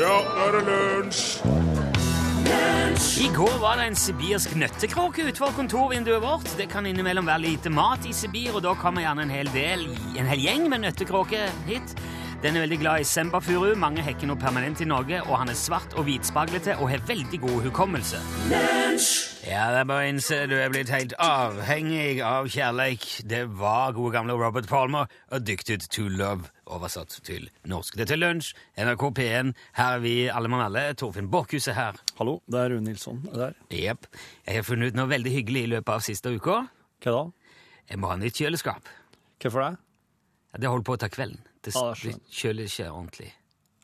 Ja, nå er det lunsj! I går var det en sibirsk nøttekråke utenfor kontorvinduet vårt. Det kan innimellom være lite mat i Sibir, og da kommer gjerne en hel del, en hel gjeng med nøttekråker hit. Den er veldig glad i sembafuru, mange hekker nå permanent i Norge, og han er svart og hvitspaglete og har veldig god hukommelse. Ja, det er bare å innse du er blitt helt avhengig av kjærleik. Det var gode gamle Robert Palmer og dyktet To Love, oversatt til norsk. Dette er Lunsj, NRK P1. Her er vi alle mann alle. Torfinn Borchhus er her. Hallo, det er Rune Nilsson der. Jep. Jeg har funnet ut noe veldig hyggelig i løpet av siste uka. Hva da? Jeg må ha nytt kjøleskap. Hvorfor det? Ja, Det holder på å ta kvelden. Det, Ja, det Ah, jeg skjønner. kjøler ikke ordentlig.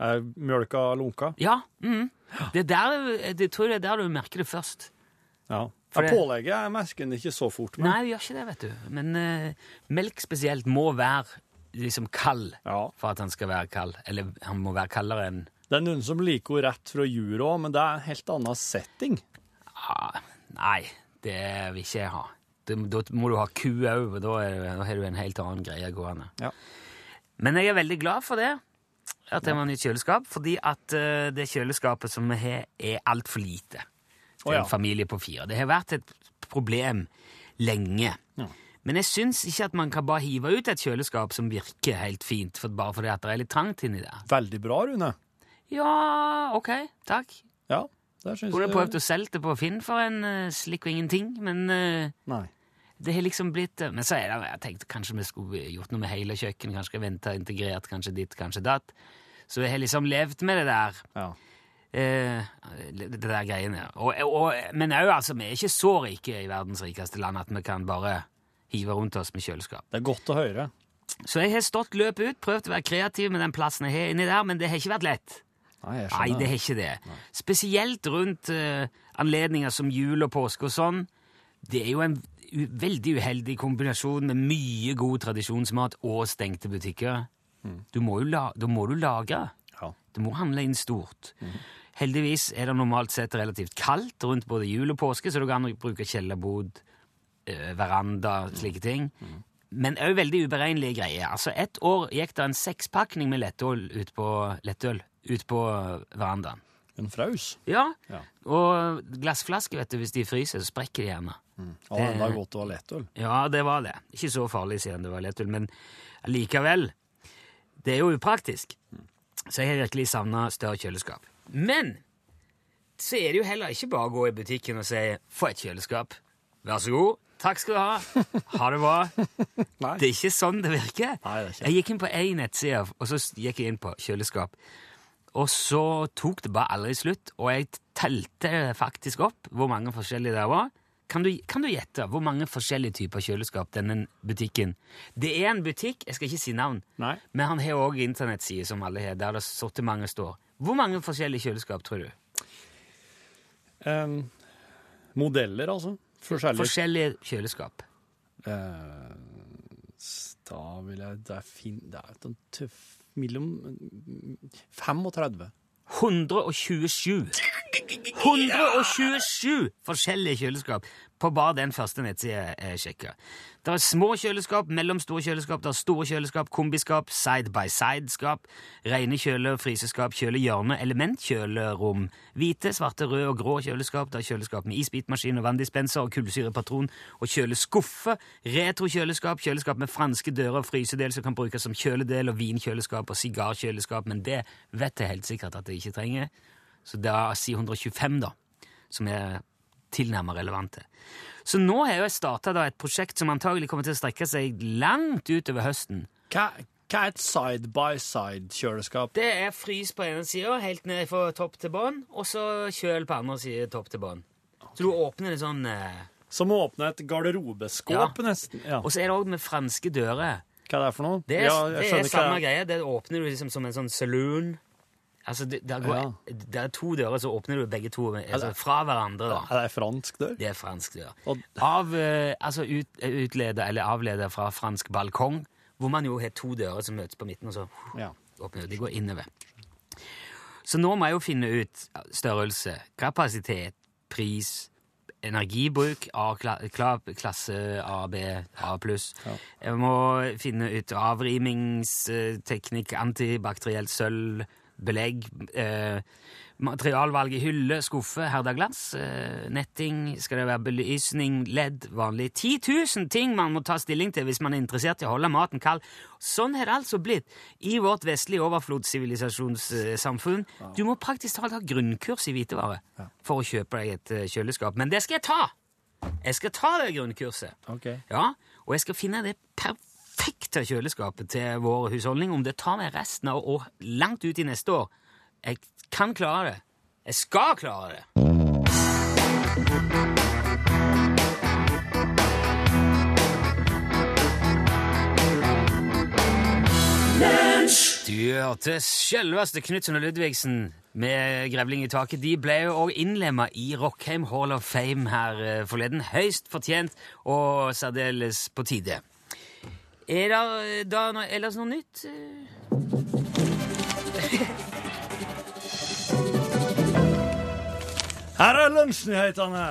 Er mjølka lunka? Ja, mm. det er der, det tror jeg det er der du merker det først. Ja. For Jeg det- pålegger jeg merker den ikke så fort. Men... Nei, vi gjør ikke det, vet du. Men eh, melk spesielt må være liksom kald Ja. for at han skal være kald. Eller han må være kaldere enn Det er noen som liker henne rett fra jura òg, men det er en helt annen setting. ah, Nei, det vil ikke jeg ha. Da da må du ha ku òg, og da er det- da har du en helt annen greie gående. Ja. Men jeg er veldig glad for det, at jeg må ha nytt kjøleskap, fordi at eh, det kjøleskapet som vi har, er altfor lite. Å, til ja. en familie på fire. Det har vært et problem lenge. Ja. Men jeg syns ikke at man kan bare hive ut et kjøleskap som virker helt fint, for bare fordi at det er litt trangt inni der. Veldig bra, Rune. Ja, ok, takk. Ja, det syns Kunne prøvd å selge det på Finn for en eh, slikk og ingenting, men eh, Nei. det har liksom blitt eh, Men så er det, jeg tenkte kanskje vi skulle gjort noe med hele kjøkkenet, kanskje vente integrert, kanskje ditt, kanskje datt. Så jeg har liksom levd med det der. Ja. Eh, det der greiene. Og, og, men òg, altså, vi er ikke så rike i verdens rikeste land at vi kan bare hive rundt oss med kjøleskap. Det er godt å høre. Så jeg har stått løpet ut, prøvd å være kreativ med den plassen jeg har inni der, men det har ikke vært lett. Nei, jeg Nei, skjønner. det har ikke det. Spesielt rundt eh, anledninger som jul og påske og sånn. Det er jo en u veldig uheldig kombinasjon med mye god tradisjonsmat og stengte butikker. Du må jo la da må du lagre. Ja. Du må handle inn stort. Heldigvis er det normalt sett relativt kaldt rundt både jul og påske, så du kan bruke kjellerbod, eh, veranda, slike ting. Men òg veldig uberegnelige greier. Altså, Ett år gikk det en sekspakning med lettøl ut på, lettøl ut på verandaen. En fraus. Ja, Ja. Og glassflasker, vet du, hvis de fryser, så sprekker de gjerne. Ja, det er godt å ha lettøl. Ja, det var det. Ikke så farlig siden det var lettøl, men likevel. Det er jo upraktisk. Så jeg har virkelig savna større kjøleskap. Men så er det jo heller ikke bare å gå i butikken og si 'få et kjøleskap'. Vær så god. Takk skal du ha. Ha det bra. Nei. Det er ikke sånn det virker. Nei, det er ikke. Jeg gikk inn på én nettside, og så gikk jeg inn på kjøleskap. Og så tok det bare aldri slutt, og jeg telte faktisk opp hvor mange forskjellige det var. Kan du, kan du gjette hvor mange forskjellige typer kjøleskap denne butikken Det er en butikk, jeg skal ikke si navn, Nei. men han har òg internettside som alle har, der det sortimentet står. Hvor mange forskjellige kjøleskap tror du? Em, modeller, altså. Forskjellige. Forskjellige kjøleskap. Eh, s- da vil jeg Det er fin... Det er den tøff... Mellom mm, 35. 127. 127 forskjellige kjøleskap på bare den første nettsida jeg sjekka. Det er små kjøleskap, mellomstore kjøleskap, det er store kjøleskap, kombiskap, side-by-side-skap, rene kjøle- og fryseskap, kjølehjørne, elementkjølerom, hvite, svarte, røde og grå kjøleskap, det er kjøleskap med isbitmaskin og vanndispenser og kullsyrepatron, og kjøleskuffe, retrokjøleskap, kjøleskap med franske dører og frysedel som kan brukes som kjøledel, og vinkjøleskap og sigarkjøleskap, men det vet jeg helt sikkert at jeg ikke trenger. Så da si 125, da, som er tilnærmet relevante. Så nå har jeg starta et prosjekt som antagelig kommer til å strekke seg langt utover høsten. Hva, hva er et side-by-side-kjøleskap? Det er frys på ene sida, helt ned fra topp til bånn, og så kjøl på andre sida, topp til bånn. Så du åpner det sånn eh, Som å åpne et garderobeskåp, Ja. nesten. Ja. Og så er det òg med franske dører. Hva er det for noe? Det er, ja, det jeg er skjønner hva samme det er. greie. Det åpner du liksom som en sånn saloon. Altså, det, der går, det er to dører, så åpner du begge to altså, fra hverandre. da. Er det fransk dør? Det er fransk, ja. Og- Av, eh, altså ut, utleder eller avleder fra fransk balkong, hvor man jo har to dører som møtes på midten, og så uh, Ja. åpner de går innover. Så nå må jeg jo finne ut størrelse, kapasitet, pris, energibruk, A, kla, kla, klasse A, B, A+. Jeg må finne ut avrimningsteknikk, antibakterielt sølv, belegg, eh, materialvalg i hylle, skuffe, herda glass, eh, netting, skal det være belysning, ledd, vanlig 10 000 ting man må ta stilling til hvis man er interessert i å holde maten kald. Sånn har det altså blitt i vårt vestlige overflodssivilisasjonssamfunn. Du må praktisk talt ha grunnkurs i hvitevare for å kjøpe deg et eh, kjøleskap. Men det skal jeg ta! Jeg skal ta det grunnkurset. Ok. Ja, og jeg skal finne det perfekte kjøleskapet til vår husholdning, om det tar meg resten av og langt ut i neste år. Jeg kan klare det. Jeg skal klare det. Du hørte selveste Knutsen og Ludvigsen med Grevling i taket. De ble jo òg innlemma i Rockheim Hall of Fame her eh, forleden. Høyst fortjent og særdeles på tide. Er det eh, da noe, ellers noe nytt? eh? Her er lunsjnyhetene!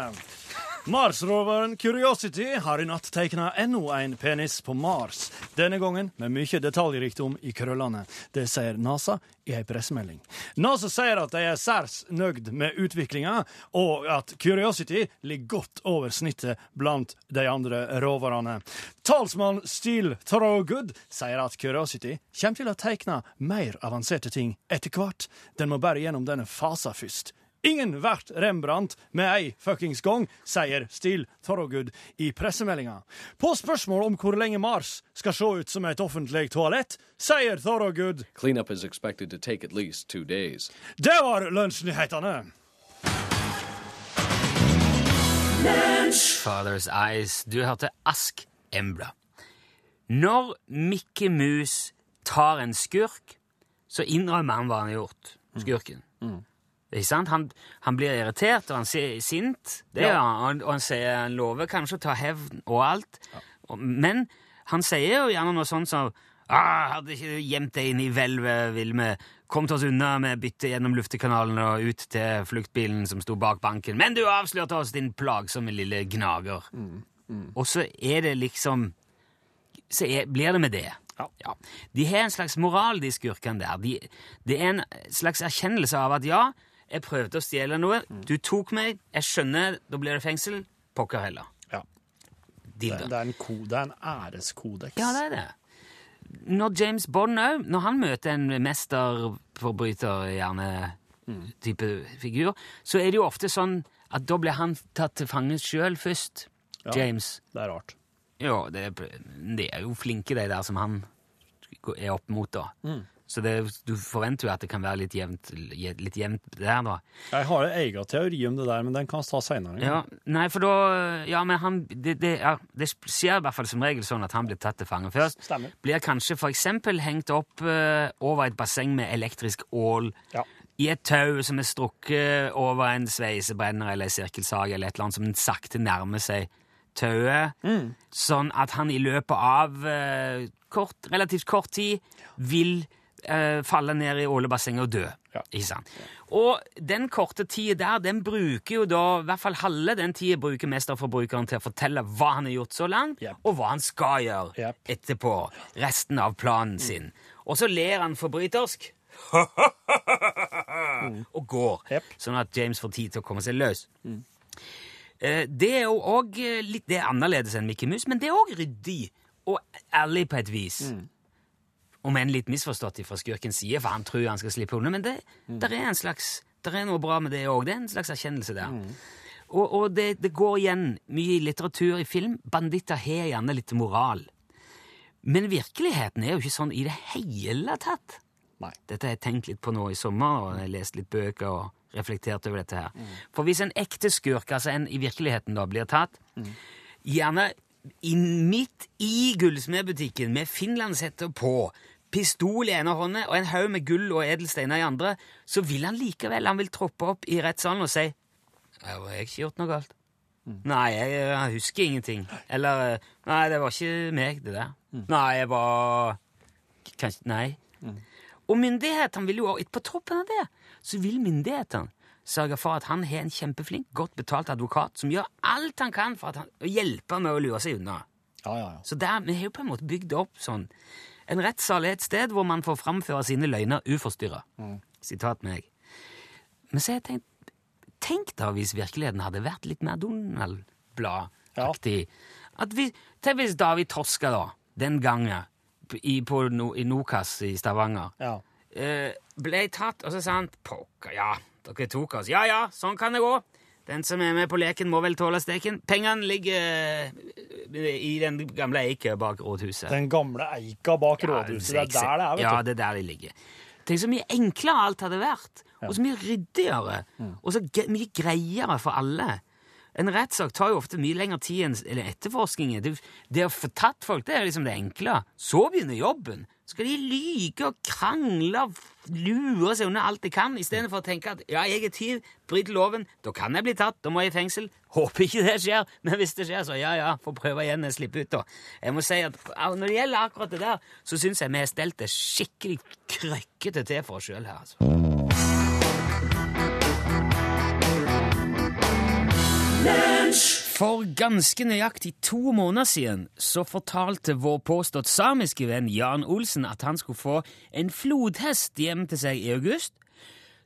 Mars-roveren Curiosity har i natt tegna enda en penis på Mars. Denne gangen med mye detaljrikdom i krøllene. Det sier NASA i ei pressemelding. NASA sier at de er særs nøyd med utviklinga, og at Curiosity ligger godt over snittet blant de andre roverne. Talsmann Steele Thorogood sier at Curiosity kommer til å tegne mer avanserte ting etter hvert. Den må bare gjennom denne fasen først. Ingen vert Rembrandt med ei fuckings gang, sier Steele Thorogood i pressemeldinga. På spørsmål om hvor lenge Mars skal se ut som et offentlig toalett, sier Thorogood Cleanup is expected to take at least two days. Det var lunsjnyhetene! Father's Eyes. Du hørte Ask Embla. Når Mikke Mus tar en skurk, så innrømmer han hva han har gjort. Skurken. Ikke sant? Han, han blir irritert, og han sier sint. Det gjør han, og- og han sier han lover kanskje å ta hevn og alt. Og- Men han sier jo gjerne noe sånt som ah, 'Hadde ikke du gjemt deg inn i hvelvet, Vilme. Kom oss unna med bytte gjennom luftekanalen og ut til fluktbilen som sto bak banken. Men du avslørte oss, din plagsomme lille gnager.' Og så er det liksom så er, blir det med det. Ja. De har en slags moral, de skurkene der. De, det er en slags erkjennelse av at ja, jeg prøvde å stjele noe, Mm. du tok meg, jeg skjønner, da blir det fengsel. Pokker heller. Ja. Det, Dildo. det, er en ko, det er en æreskodeks. Ja, det er det. Når James Bond òg, når han møter en mesterforbryter, gjerne Mm. type figur, så er det jo ofte sånn at da blir han tatt til fange sjøl først. James. Det er rart. Ja, det, er- det er jo flinke de der som han er opp mot da. Mm. Så det, du forventer jo at det kan være litt jevnt, litt jevnt der da. Jeg har en egen teori om det der, men den kan vi ta seinere. Ja, nei, for da Ja, men han det, det, ja, det skjer i hvert fall som regel sånn at han blir tatt til fange først. Stemmer. Blir kanskje for eksempel hengt opp eh, over et basseng med elektrisk ål. Ja. I et tau som er strukket over en sveisebrenner eller en sirkelsag eller et eller annet som sakte nærmer seg tauet. Sånn at han i løpet av eh, kort, relativt kort tid vil eh, falle ned i ålebassenget og dø. Ja. Ikke sant? Og den korte tida der, den bruker jo da I hvert fall halve den tida bruker mesterforbrukeren til å fortelle hva han har gjort så langt, Jep. og hva han skal gjøre Jep. etterpå. Resten av planen sin. Og så ler han forbrytersk og går, Jep. sånn at James får tid til å komme seg løs. Eh, Det er jo òg eh, litt det er annerledes enn Mickey Mus, men det er òg ryddig og ærlig på et vis. Om enn litt misforstått fra skurkens side, for han tror han skal slippe unna. Men det der er en slags, der er noe bra med det òg. Det er en slags erkjennelse der. Og, og det, det går igjen mye i litteratur, i film. Banditter har gjerne litt moral. Men virkeligheten er jo ikke sånn i det hele tatt. Nei. Dette har jeg tenkt litt på nå i sommer, og jeg har lest litt bøker og reflektert over dette her. For hvis en ekte skurk, altså en i virkeligheten da, blir tatt, gjerne i, midt i gullsmedbutikken med finlandshetter på, pistol i ene hånda og en haug med gull og edelsteiner i andre, så vil han likevel, han vil troppe opp i rettssalen og si «Jeg har ikke gjort noe galt». Nei, jeg, eh, husker ingenting. Eller eh, Nei, det var ikke meg, det der. Nei, jeg var Kanskje Nei. Og myndighetene vil jo også, på toppen av det, så vil myndighetene sørge for at han har en kjempeflink, godt betalt advokat som gjør alt han kan for at han, å hjelpe med å lure seg unna. Ja, ja, ja. Så der, vi har jo på en måte bygd opp sånn En rettssal er et sted hvor man får framføre sine løgner uforstyrra. Sitat meg. Men så har jeg tenkt Tenk da hvis virkeligheten hadde vært litt mer Donald-blad-aktig. At hvis- Tenk hvis David Toska, da, den gangen i, på, No- i Nokas i Stavanger Ja. eh, ble tatt, og så sa han Pokker, ja, dere tok oss. Ja ja, sånn kan det gå. Den som er med på leken, må vel tåle steken. Pengene ligger eh, i den gamle eika bak rådhuset. Den gamle eika bak Ja, rådhuset. Det er seks- der det er, vet Ja, du. det er der det ligger. Tenk så mye enklere alt hadde vært, og så mye ryddigere, Mm. og så ge- mye greiere for alle. En rettssak tar jo ofte mye lengre tid enn eller etterforskningen. Det, det å få tatt folk, det er liksom det enkle. Så begynner jobben. Så skal de lyge og krangle og f- lure seg unna alt de kan, istedenfor å tenke at ja, jeg er tyv, bryter loven, da kan jeg bli tatt, da må jeg i fengsel. Håper ikke det skjer, men hvis det skjer, så ja ja, får prøve igjen når jeg slipper ut, da. Jeg må si at ja, når det gjelder akkurat det der, så syns jeg vi har stelt det skikkelig krøkkete til for oss sjøl her, altså. For ganske nøyaktig to måneder siden så fortalte vår påstått samiske venn Jan Olsen at han skulle få en flodhest hjem til seg i august,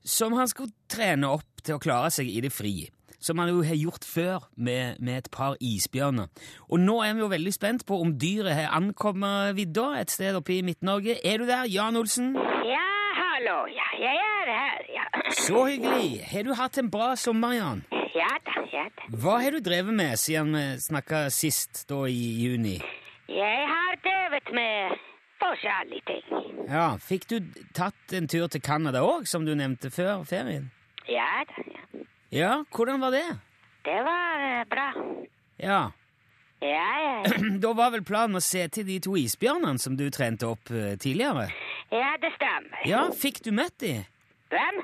som han skulle trene opp til å klare seg i det fri. Som han jo har gjort før med, med et par isbjørner. Og nå er vi jo veldig spent på om dyret har ankommet vidda et sted oppe i Midt-Norge. Er du der, Jan Olsen? Ja, hallo. Ja, jeg er her. Ja, Så hyggelig! Har du hatt en bra sommer, Jan? ja da, ja da. Hva har du drevet med siden vi snakka sist, da i juni? Jeg har drevet med forskjellige ting. Ja, Fikk du tatt en tur til Canada òg, som du nevnte før ferien? Ja da, ja. Ja, hvordan var det? Det var eh, bra. Ja, Ja, ja, ja. Da var vel planen å se til de to isbjørnene som du trente opp eh, tidligere? ja det stemmer. Ja, fikk du møtt de? Hvem?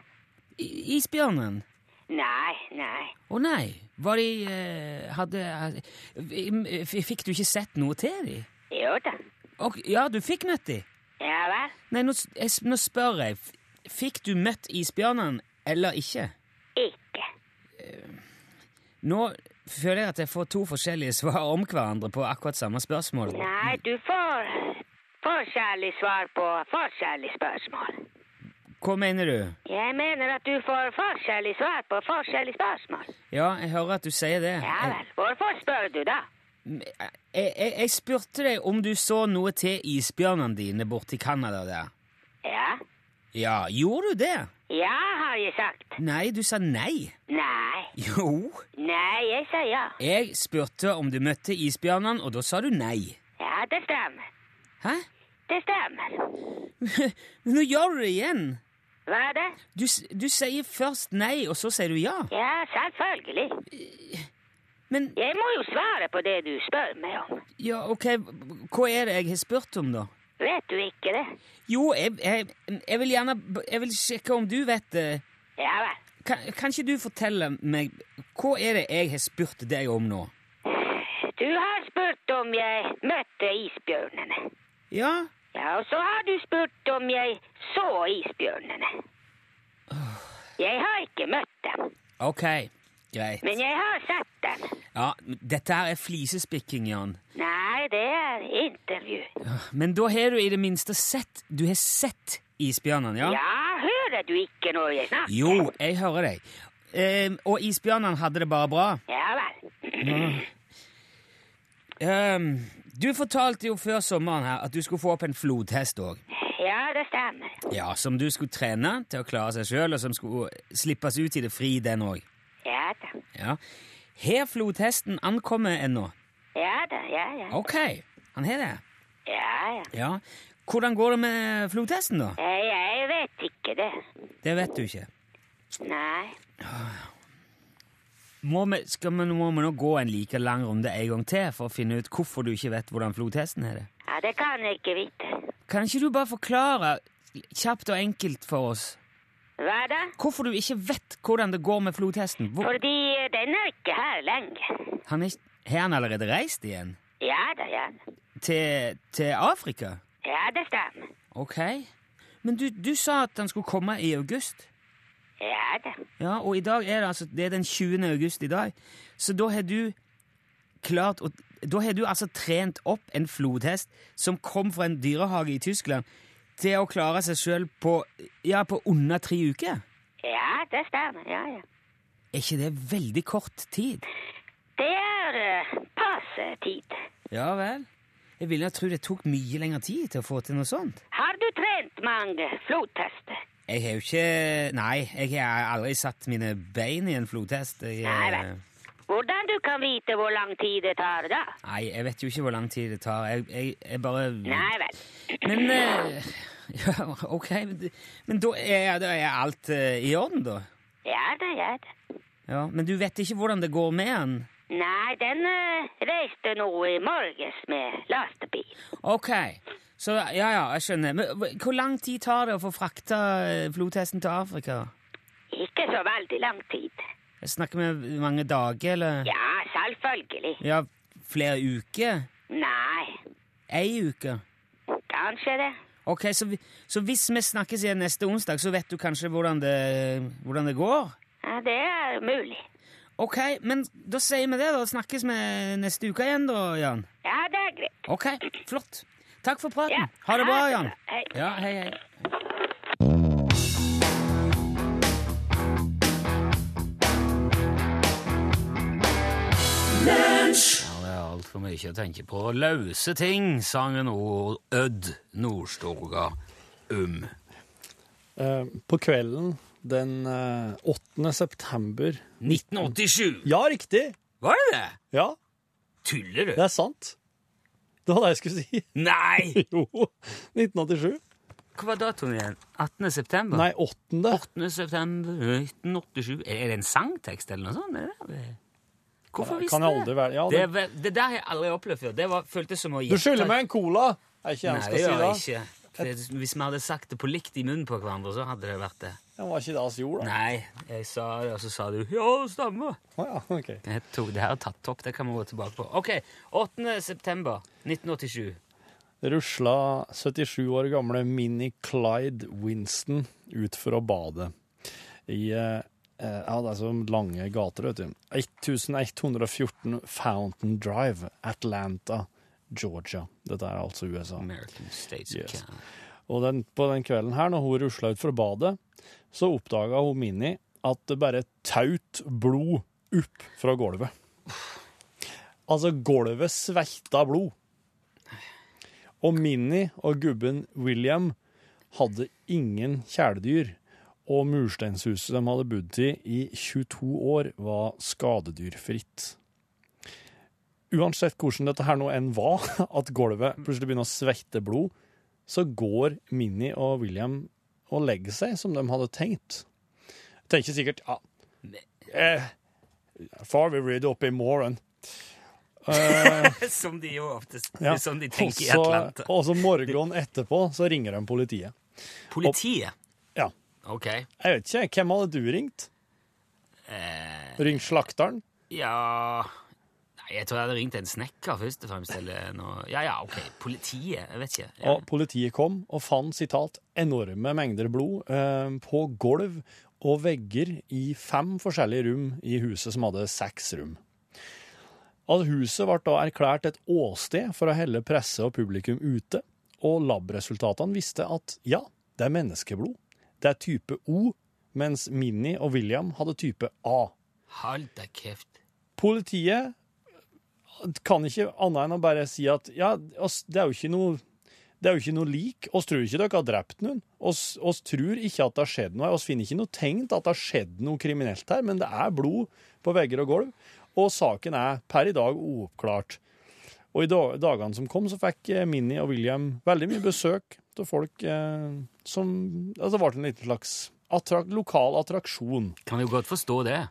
I isbjørnen? Nei, nei. Å nei, var de eh, hadde eh, f- Fikk du ikke sett noe til de? Jo da. Ok, ja, du fikk møtt de? Ja vel. Nei, nå, s- jeg, s- nå spør jeg. F- Fikk du møtt isbjørnen eller ikke? Ikke. Nå føler jeg at jeg får to forskjellige svar om hverandre på akkurat samme spørsmål. Nei, du får forskjellig svar på forskjellige spørsmål. Hva mener du? Jeg mener at du får forskjellig svar på forskjellige spørsmål. Ja, jeg hører at du sier det. Ja vel. Hvorfor spør du da? Jeg, jeg, jeg spurte deg om du så noe til isbjørnene dine borti Canada der. Ja. Ja, gjorde du det? Ja, har jeg sagt. Nei, du sa nei. Nei. Jo. Nei, jeg sa ja. Jeg spurte om du møtte isbjørnene, og da sa du nei. Ja, det stemmer. Hæ? Det stemmer. Men nå gjør du det igjen. Hva er det? Du, s- du sier først nei, og så sier du ja. Ja, selvfølgelig. Men Jeg må jo svare på det du spør meg om. ja, ok, hva er det jeg har spurt om, da? Vet du ikke det? Jo, jeg, jeg, jeg vil gjerne b- Jeg vil sjekke om du vet eh, det. Ja vel. Kan, kan ikke du fortelle meg Hva er det jeg har spurt deg om nå? Du har spurt om jeg møtte isbjørnene. Ja? Ja, og så har du spurt om jeg så isbjørnene. Jeg har ikke møtt dem, Ok, greit. men jeg har sett dem. Ja, Dette her er flisespikking, Jan. Nei, det er intervju. Men da har du i det minste sett Du har sett isbjørnene, ja? Ja, hører du ikke når jeg snakker? Jo, jeg hører deg. Ehm, og isbjørnene hadde det bare bra. Ja vel. Ehm, du fortalte jo før sommeren her at du skulle få opp en flodhest òg. Ja, det stemmer. Ja, som du skulle trene til å klare seg sjøl, og som skulle slippes ut i det fri, den òg. Ja da. Ja. Har flodhesten ankommet ennå? Ja da, ja, ja. Ok, han har det. Ja, ja. Ja. Hvordan går det med flodhesten, da? Nei, jeg vet ikke det. Det vet du ikke. Nei. Må vi, skal vi, må vi nå gå en like lang runde en gang til for å finne ut hvorfor du ikke vet hvordan flodhesten har det? Ja, det kan jeg ikke vite. Kan ikke du bare forklare kjapt og enkelt for oss Hva da? hvorfor du ikke vet hvordan det går med flodhesten? Hvor, Fordi eh, den er ikke her lenge. han er, ikke- har han allerede reist igjen? Ja da, ja. da. Til, til Afrika? Ja, det stemmer. Ok. Men du, du sa at han skulle komme i august. Ja da. Ja, og i dag er det altså det er den 20. august i dag. Så da har du klart å Da har du altså trent opp en flodhest som kom fra en dyrehage i Tyskland, til å klare seg sjøl på, ja, på under tre uker. Ja, det stemmer. Ja, ja. Er ikke det veldig kort tid? Det er eh, passe tid. Ja vel. Jeg ville tro det tok mye lengre tid til å få til noe sånt. Har du trent mange flodhester? Jeg har jo ikke Nei, jeg har aldri satt mine bein i en flodhest. Jeg, Nei vel. Eh. Hvordan du kan vite hvor lang tid det tar da? nei, jeg vet jo ikke hvor lang tid det tar. Jeg, jeg, jeg bare Nei vel. Men eh, Ja, ok. men det- Men da er, da er alt eh, i orden, da? Ja da, ja da. Ja, Men du vet ikke hvordan det går med den? Nei, den eh, reiste nå i morges med lastebil. Ok. Så ja, ja, jeg skjønner. Men hv- hvor lang tid tar det å få frakta eh, flodhesten til Afrika? Ikke så veldig lang tid. Jeg snakker med mange dager, eller? Ja, selvfølgelig. ja flere uker? Nei, Ei uke? kanskje det. Ok, så, vi- så hvis vi snakkes igjen neste onsdag, så vet du kanskje hvordan det, hvordan det går? Ja, det er mulig. Ok, men da sier vi det, da. Snakkes vi neste uke igjen, da, Jan. Ja, det er greit. Ok, flott. Takk for praten. Ja, Ha det bra, ha det Jan. bra. Hei. Ja, hei, hei. Ja, det er altfor mye å tenke på. Løse ting, sangen og Ødd Nordstoga Um. Eh, på kvelden den eh, 8. september 1987. Ja, riktig! Var det det? Ja, Tuller det du? er sant. Det var det jeg skulle si. Nei! Jo. 1987. Hva var datoen igjen? 18. september? Nei, 8. 8. september 1987. Er det en sangtekst eller noe sånt? Er det? Hvorfor Kan visste jeg du aldri være- ja, det, det- var- det der har jeg aldri opplevd før. Det var, føltes som å Du skylder meg en cola! Er ikke det Nei, jeg det gjør skal jeg si da? ikke. For Hvis vi hadde sagt det på likt i munnen på hverandre, så hadde det vært det. Den var ikke deres jord, da. Nei, jeg sa det, og så sa du ja, det stemmer. Å ja, ok. Jeg tok, det her er tatt opp, det kan vi gå tilbake på. Ok, 8. september 1987. rusla 77 år gamle Minnie Clyde Winston ut fra badet i eh, eh, ja, det er så lange gater, vet du. 1114 Fountain Drive, Atlanta, Georgia. Dette er altså USA. American States of Yes. Canada. Og den, på den kvelden her, når hun rusla ut fra badet, så oppdaga hun Minnie at det bare taut blod opp fra gulvet. Altså, gulvet svelta blod. Og Minnie og gubben William hadde ingen kjæledyr. Og mursteinshuset de hadde bodd i i 22 år, var skadedyrfritt. Uansett hvordan dette her nå enn var, at gulvet plutselig begynner å svette blod, så går Minnie og William og legger seg som de hadde tenkt. Tenker sikkert ja, eh, Far will read opp i morgen. Som de jo oftest Ja. Som sånn de tenker i Også- eh, Atlanta. Og så morgenen etterpå så ringer de politiet. Politiet. Ja. Ok. Jeg vet ikke, hvem hadde du ringt? eh, Ringt slakteren? Ja Nei, jeg tror jeg hadde ringt en snekker først og fremst. Eller noe. Ja ja, OK. Politiet. Jeg vet ikke. Ja. Og politiet kom og fant sitat, enorme mengder blod eh, på gulv og vegger i fem forskjellige rom i huset som hadde seks rom. Altså, huset ble da erklært et åsted for å helle presse og publikum ute, og labresultatene viste at ja, det er menneskeblod. Det er type O, mens Minnie og William hadde type A. Hold deg kjeft. Politiet kan ikke annet enn å bare si at ja, oss, det er jo ikke noe det er jo ikke noe lik. Oss tror ikke dere har drept noen. Oss, oss tror ikke at det har skjedd noe. Oss finner ikke noe tegn til at det har skjedd noe kriminelt her, men det er blod på vegger og gulv. Og saken er per i dag uoppklart. Og i dag, dagene som kom, så fikk eh, Minnie og William veldig mye besøk av folk eh, som altså, Det ble en liten slags attrakt, lokal attraksjon. Kan jo godt forstå det.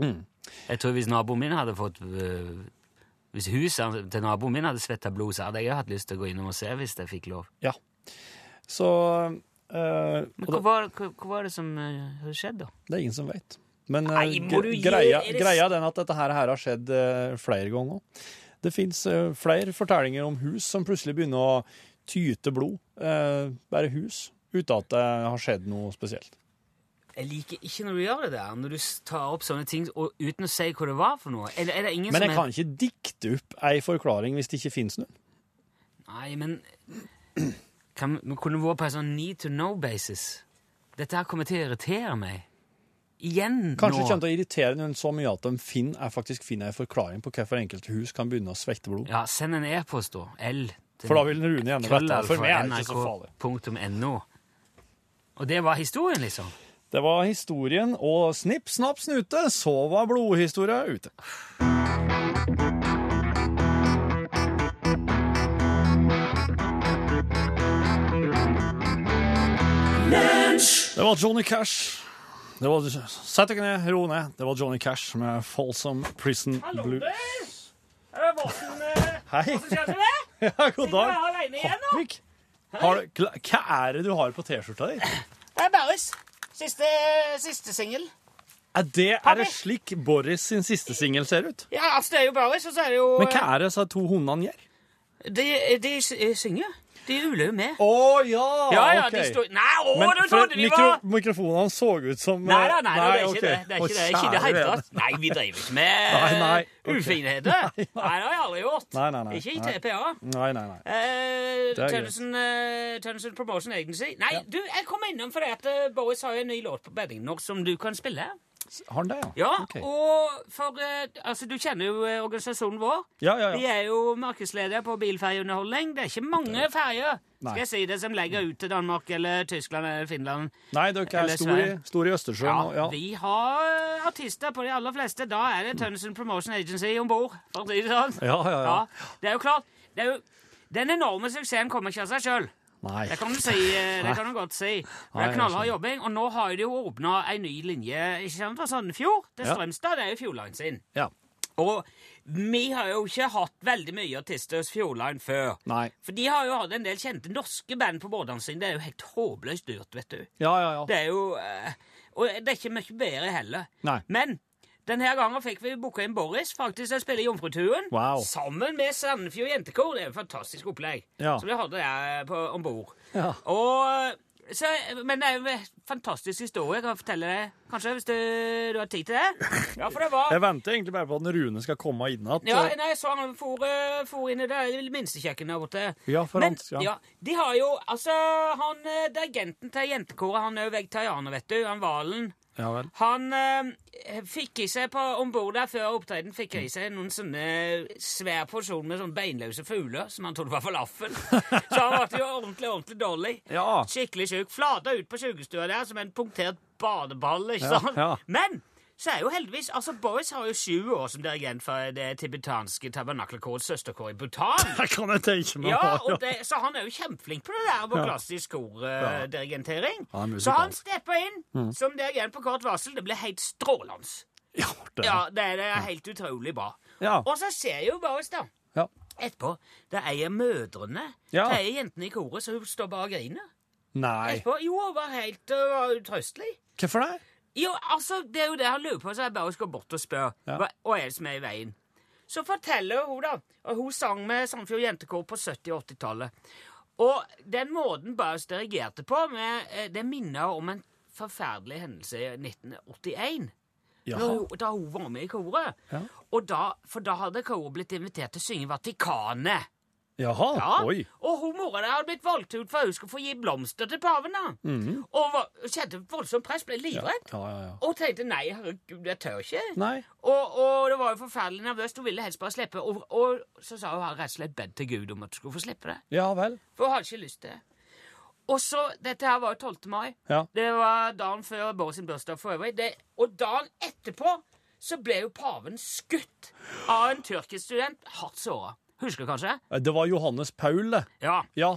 Mm. Jeg tror hvis naboen min hadde fått øh, Hvis huset til naboen min hadde svetta blod, så hadde jeg jo hatt lyst til å gå innom og se hvis jeg fikk lov. Så eh, og Men da- hva var, hva, hva var det som øh, hadde skjedd, da? Det er ingen som vet. Men eh, Nei, må gre- du gi- greia, er det s- greia er den at dette her, her har skjedd eh, flere ganger. Det fins eh, flere fortellinger om hus som plutselig begynner å tyte blod. eh, bare hus. Uten at det har skjedd noe spesielt. Jeg liker ikke når du gjør det der, når du s- tar opp sånne ting og, uten å si hva det var for noe. Eller er det ingen Men som jeg kan ikke dikte opp ei forklaring hvis det ikke finnes noen. er Nei, men kan, Vi kunne vært på en sånn need to know-basis. Dette her kommer til å irritere meg. Igjen Kanskje det nå. kommer til å irritere noen så mye at de finner, jeg faktisk finner en forklaring på hvorfor enkelte hus kan begynne å svette blod. Ja, send en e-post, da. L. til For da vil Rune gjerne vite krøllalfa For meg er det ikke så farlig. nrk.no. Og det var historien, liksom. Det var historien, og snipp, snapp, snute, så var blodhistoria ute. Det var Johnny Cash. Det var, sett dere ned, ro ned. Det var Johnny Cash med Folsom Prison Blues. eh, Hei. Ja, god dag. Hotvik. Har du, kla- hva er det du har på T-skjorta di? Det er Boris. Siste, siste singel. Er det, er det slik Boris sin siste singel ser ut? Ja, altså, det er jo Boris, og så er det jo Men hva er det disse to hundene gjør? De, de s- eh, synger. De uler jo med. Å ja! Ja, ja, ok. de står Nei, å, Men du for trodde de var mikro, mikrofonene så ut som Nei da, nei, da, det er ok. ikke det. Det er ikke det, Å, ikke det kjære hele vene. tatt. Nei, vi driver ikke Nei, nei, med ok. ufinheter. Nei, det har jeg aldri gjort. Nei, nei, nei, Ikke i nei. TPA. Nei, nei, nei. Eh, er greit. Tønnesen eh, Tønnesen Promotion Agency. Nei, du, jeg kom innom fordi at eh, Boris har jo en ny låt på bedding nå som du kan spille. Har han det, ja? Ja, Ok. og for eh, Altså, du kjenner jo eh, organisasjonen vår. Ja, ja, De ja. er jo markedsledere på bilferjeunderholdning. Det er ikke mange ferjer Nei. skal jeg si det, som legger ut til Danmark eller Tyskland eller Finland. Nei, dere er Eller store i, Sverige. stor i Østersjøen. og- Ja, Ja. vi har eh, artister på de aller fleste. Da er det Tønnesen Promotion Agency om bord. for å si det sånn. Ja, ja, ja. Det er jo klart. Det er jo, den enorme suksessen kommer ikke av seg sjøl. Nei. Det kan du si, eh, det kan du godt si. Men det Nei, er jeg knallhard skjønner. jobbing, og nå har de jo åpna ei ny linje ikke sant, fra Sandefjord til Ja. Strømstad. Det er jo Fjordline sin. Ja. Og vi har jo ikke hatt veldig mye artister hos Fjordline før. Nei. For de har jo hatt en del kjente norske band på båtene sine. Det er jo helt håpløst dyrt, vet du. Ja, ja, ja. Det er jo eh, Og det er ikke mye bedre heller. Nei. Men denne gangen fikk vi booka inn Boris faktisk til å spille Jomfrutuen Wow. sammen med Sandefjord Jentekor. Det er et fantastisk opplegg Ja. som vi hadde der eh, på- om bord. Ja. Og, så, men det er jo en fantastisk historie. Jeg kan fortelle deg kanskje, hvis du, du har tid til det. Ja, for det var... Jeg venter egentlig bare på at Rune skal komme inn Ja, igjen. nei, jeg så han for, eh, for inn i det minstekjøkkenet der borte. Ja, for Men, han- ja. de har jo, altså, han, eh, dirigenten til jentekoret, han er jo vegetarianer, vet du, han Valen. Ja vel. Han eh, fikk i seg på ombord der før opptreden fikk i seg noen sånne svær porsjon med sånne beinløse fugler som han trodde var falafel. Så han ble jo ordentlig, ordentlig dårlig. Ja. Skikkelig sjuk. Flata ut på sjukestua der som en punktert badeball, ikke Ja, sant? ja. Men så er jo heldigvis altså Boris har jo sju år som dirigent for det tibetanske tabernakelkårets søsterkår i Bhutan. Det kan jeg tenke meg. Ja, ja. og det, så han er jo kjempeflink på det der på klassisk kordirigentering. Ja, musikalsk. så han stepper inn Mm. som dirigent på kort varsel. Det blir helt strålende. Ja, det. Ja, det er det er helt utrolig bra. Ja. Og så ser jo Boris, da. Ja. Etterpå, det er ei av mødrene, Ja. det er ei jentene i koret, så hun står bare og griner. Nei. Etterpå, jo, hun var helt uh, utrøstelig. Hvorfor det? Jo, altså, det er jo det han lurer på, så jeg bare skal bort og spørre. Ja. Hva, hva er det som er i veien? Så forteller hun, da. Og hun sang med Sandefjord Jentekor på 70- og 80-tallet. Og den måten Baus dirigerte på, med, eh, det minner om en forferdelig hendelse i 1981. Da Jaha. hun, da hun var med i koret. Og da, for da hadde koret blitt invitert til å synge Vatikanet. Jaha. Ja, Oi. og hun mora der hadde blitt valgt ut for at hun skulle få gi blomster til paven. da. Og var, kjente voldsomt press, ble livredd. Mhm. Ja, ja, ja. Og tenkte nei, herregud, jeg tør ikke. Nei. Og, og det var jo forferdelig nervøst. Hun ville helst bare slippe. Og, og så sa hun rett og slett bedt til Gud om at hun skulle få slippe det. Ja vel. For hun hadde ikke lyst til det. Og så, Dette her var jo 12. mai. Ja. Det var dagen før Bård sin bursdag for øvrig. Det, og dagen etterpå så ble jo paven skutt av en tyrkisk student hardt såra. Husker du kanskje? Eh, Det var Johannes Paul, det. Ja, Ja.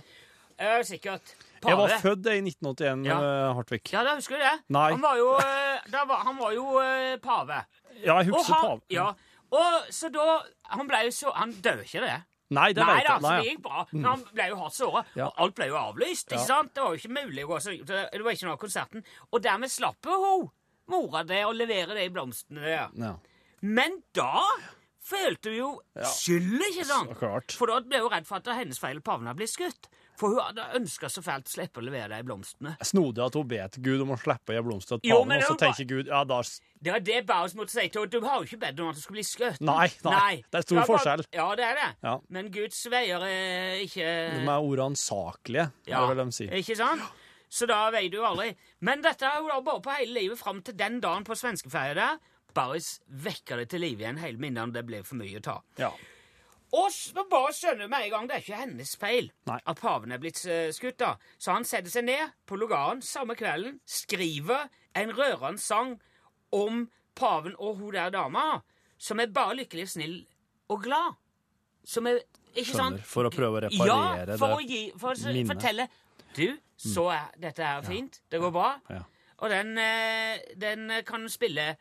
eh, sikkert. Jeg var Pave. født i 1981, Ja. eh, Hartvig. Ja, da husker du det. Nei. Han var jo, eh, da var, han var jo eh, pave. Ja, jeg Og husker han, Paul. ja, og så da Han ble jo så Han døde ikke det. Nei, det Nei vet da, jeg. så Nei, Mm. det gikk bra. Men han ble jo hardt såra. Ja. Og alt ble jo avlyst. ikke sant? Det var jo ikke mulig å gå så Det det var ikke noe av konserten. Og dermed slapp jo hun mora det å levere de blomstene der. ja. Men da følte hun jo skyld, ikke sant? Så klart. For da ble hun redd for at det var hennes feil paven hadde blitt skutt. For hun hadde ønska så fælt å slippe å levere de blomstene. Snodig at hun bet Gud om å slippe å gi blomster til Jo, paven, men og så det var- tenker Gud ja, da s- Det var det Bowers måtte si til henne. Du har jo ikke bedt om at du skulle bli skutt. Nei, nei. Det er stor var bare- forskjell. Ja, det er det. Ja. Men Guds veier er ikke De er oransaklige, Mm. Ja, er det vel de sier. Ikke sant? Så da veier du jo aldri. Men dette er jo da bare på hele livet fram til den dagen på svenskeferja der. Barris vekker det til live igjen hele minnet om det ble for mye å ta. Ja. Og så bare skjønner med en gang det er ikke hennes feil Nei. at paven er blitt eh, skutt. da. Så han setter seg ned på logaren samme kvelden, skriver en rørende sang om paven og hun der dama, som er bare lykkelig, snill og glad. Som er Ikke Skjønner, sant? for å prøve å reparere ja, for det Å gi, for å s- minnet. fortelle Du, så er dette her fint. Det går bra. Ja. Og den, eh, den eh, kan spille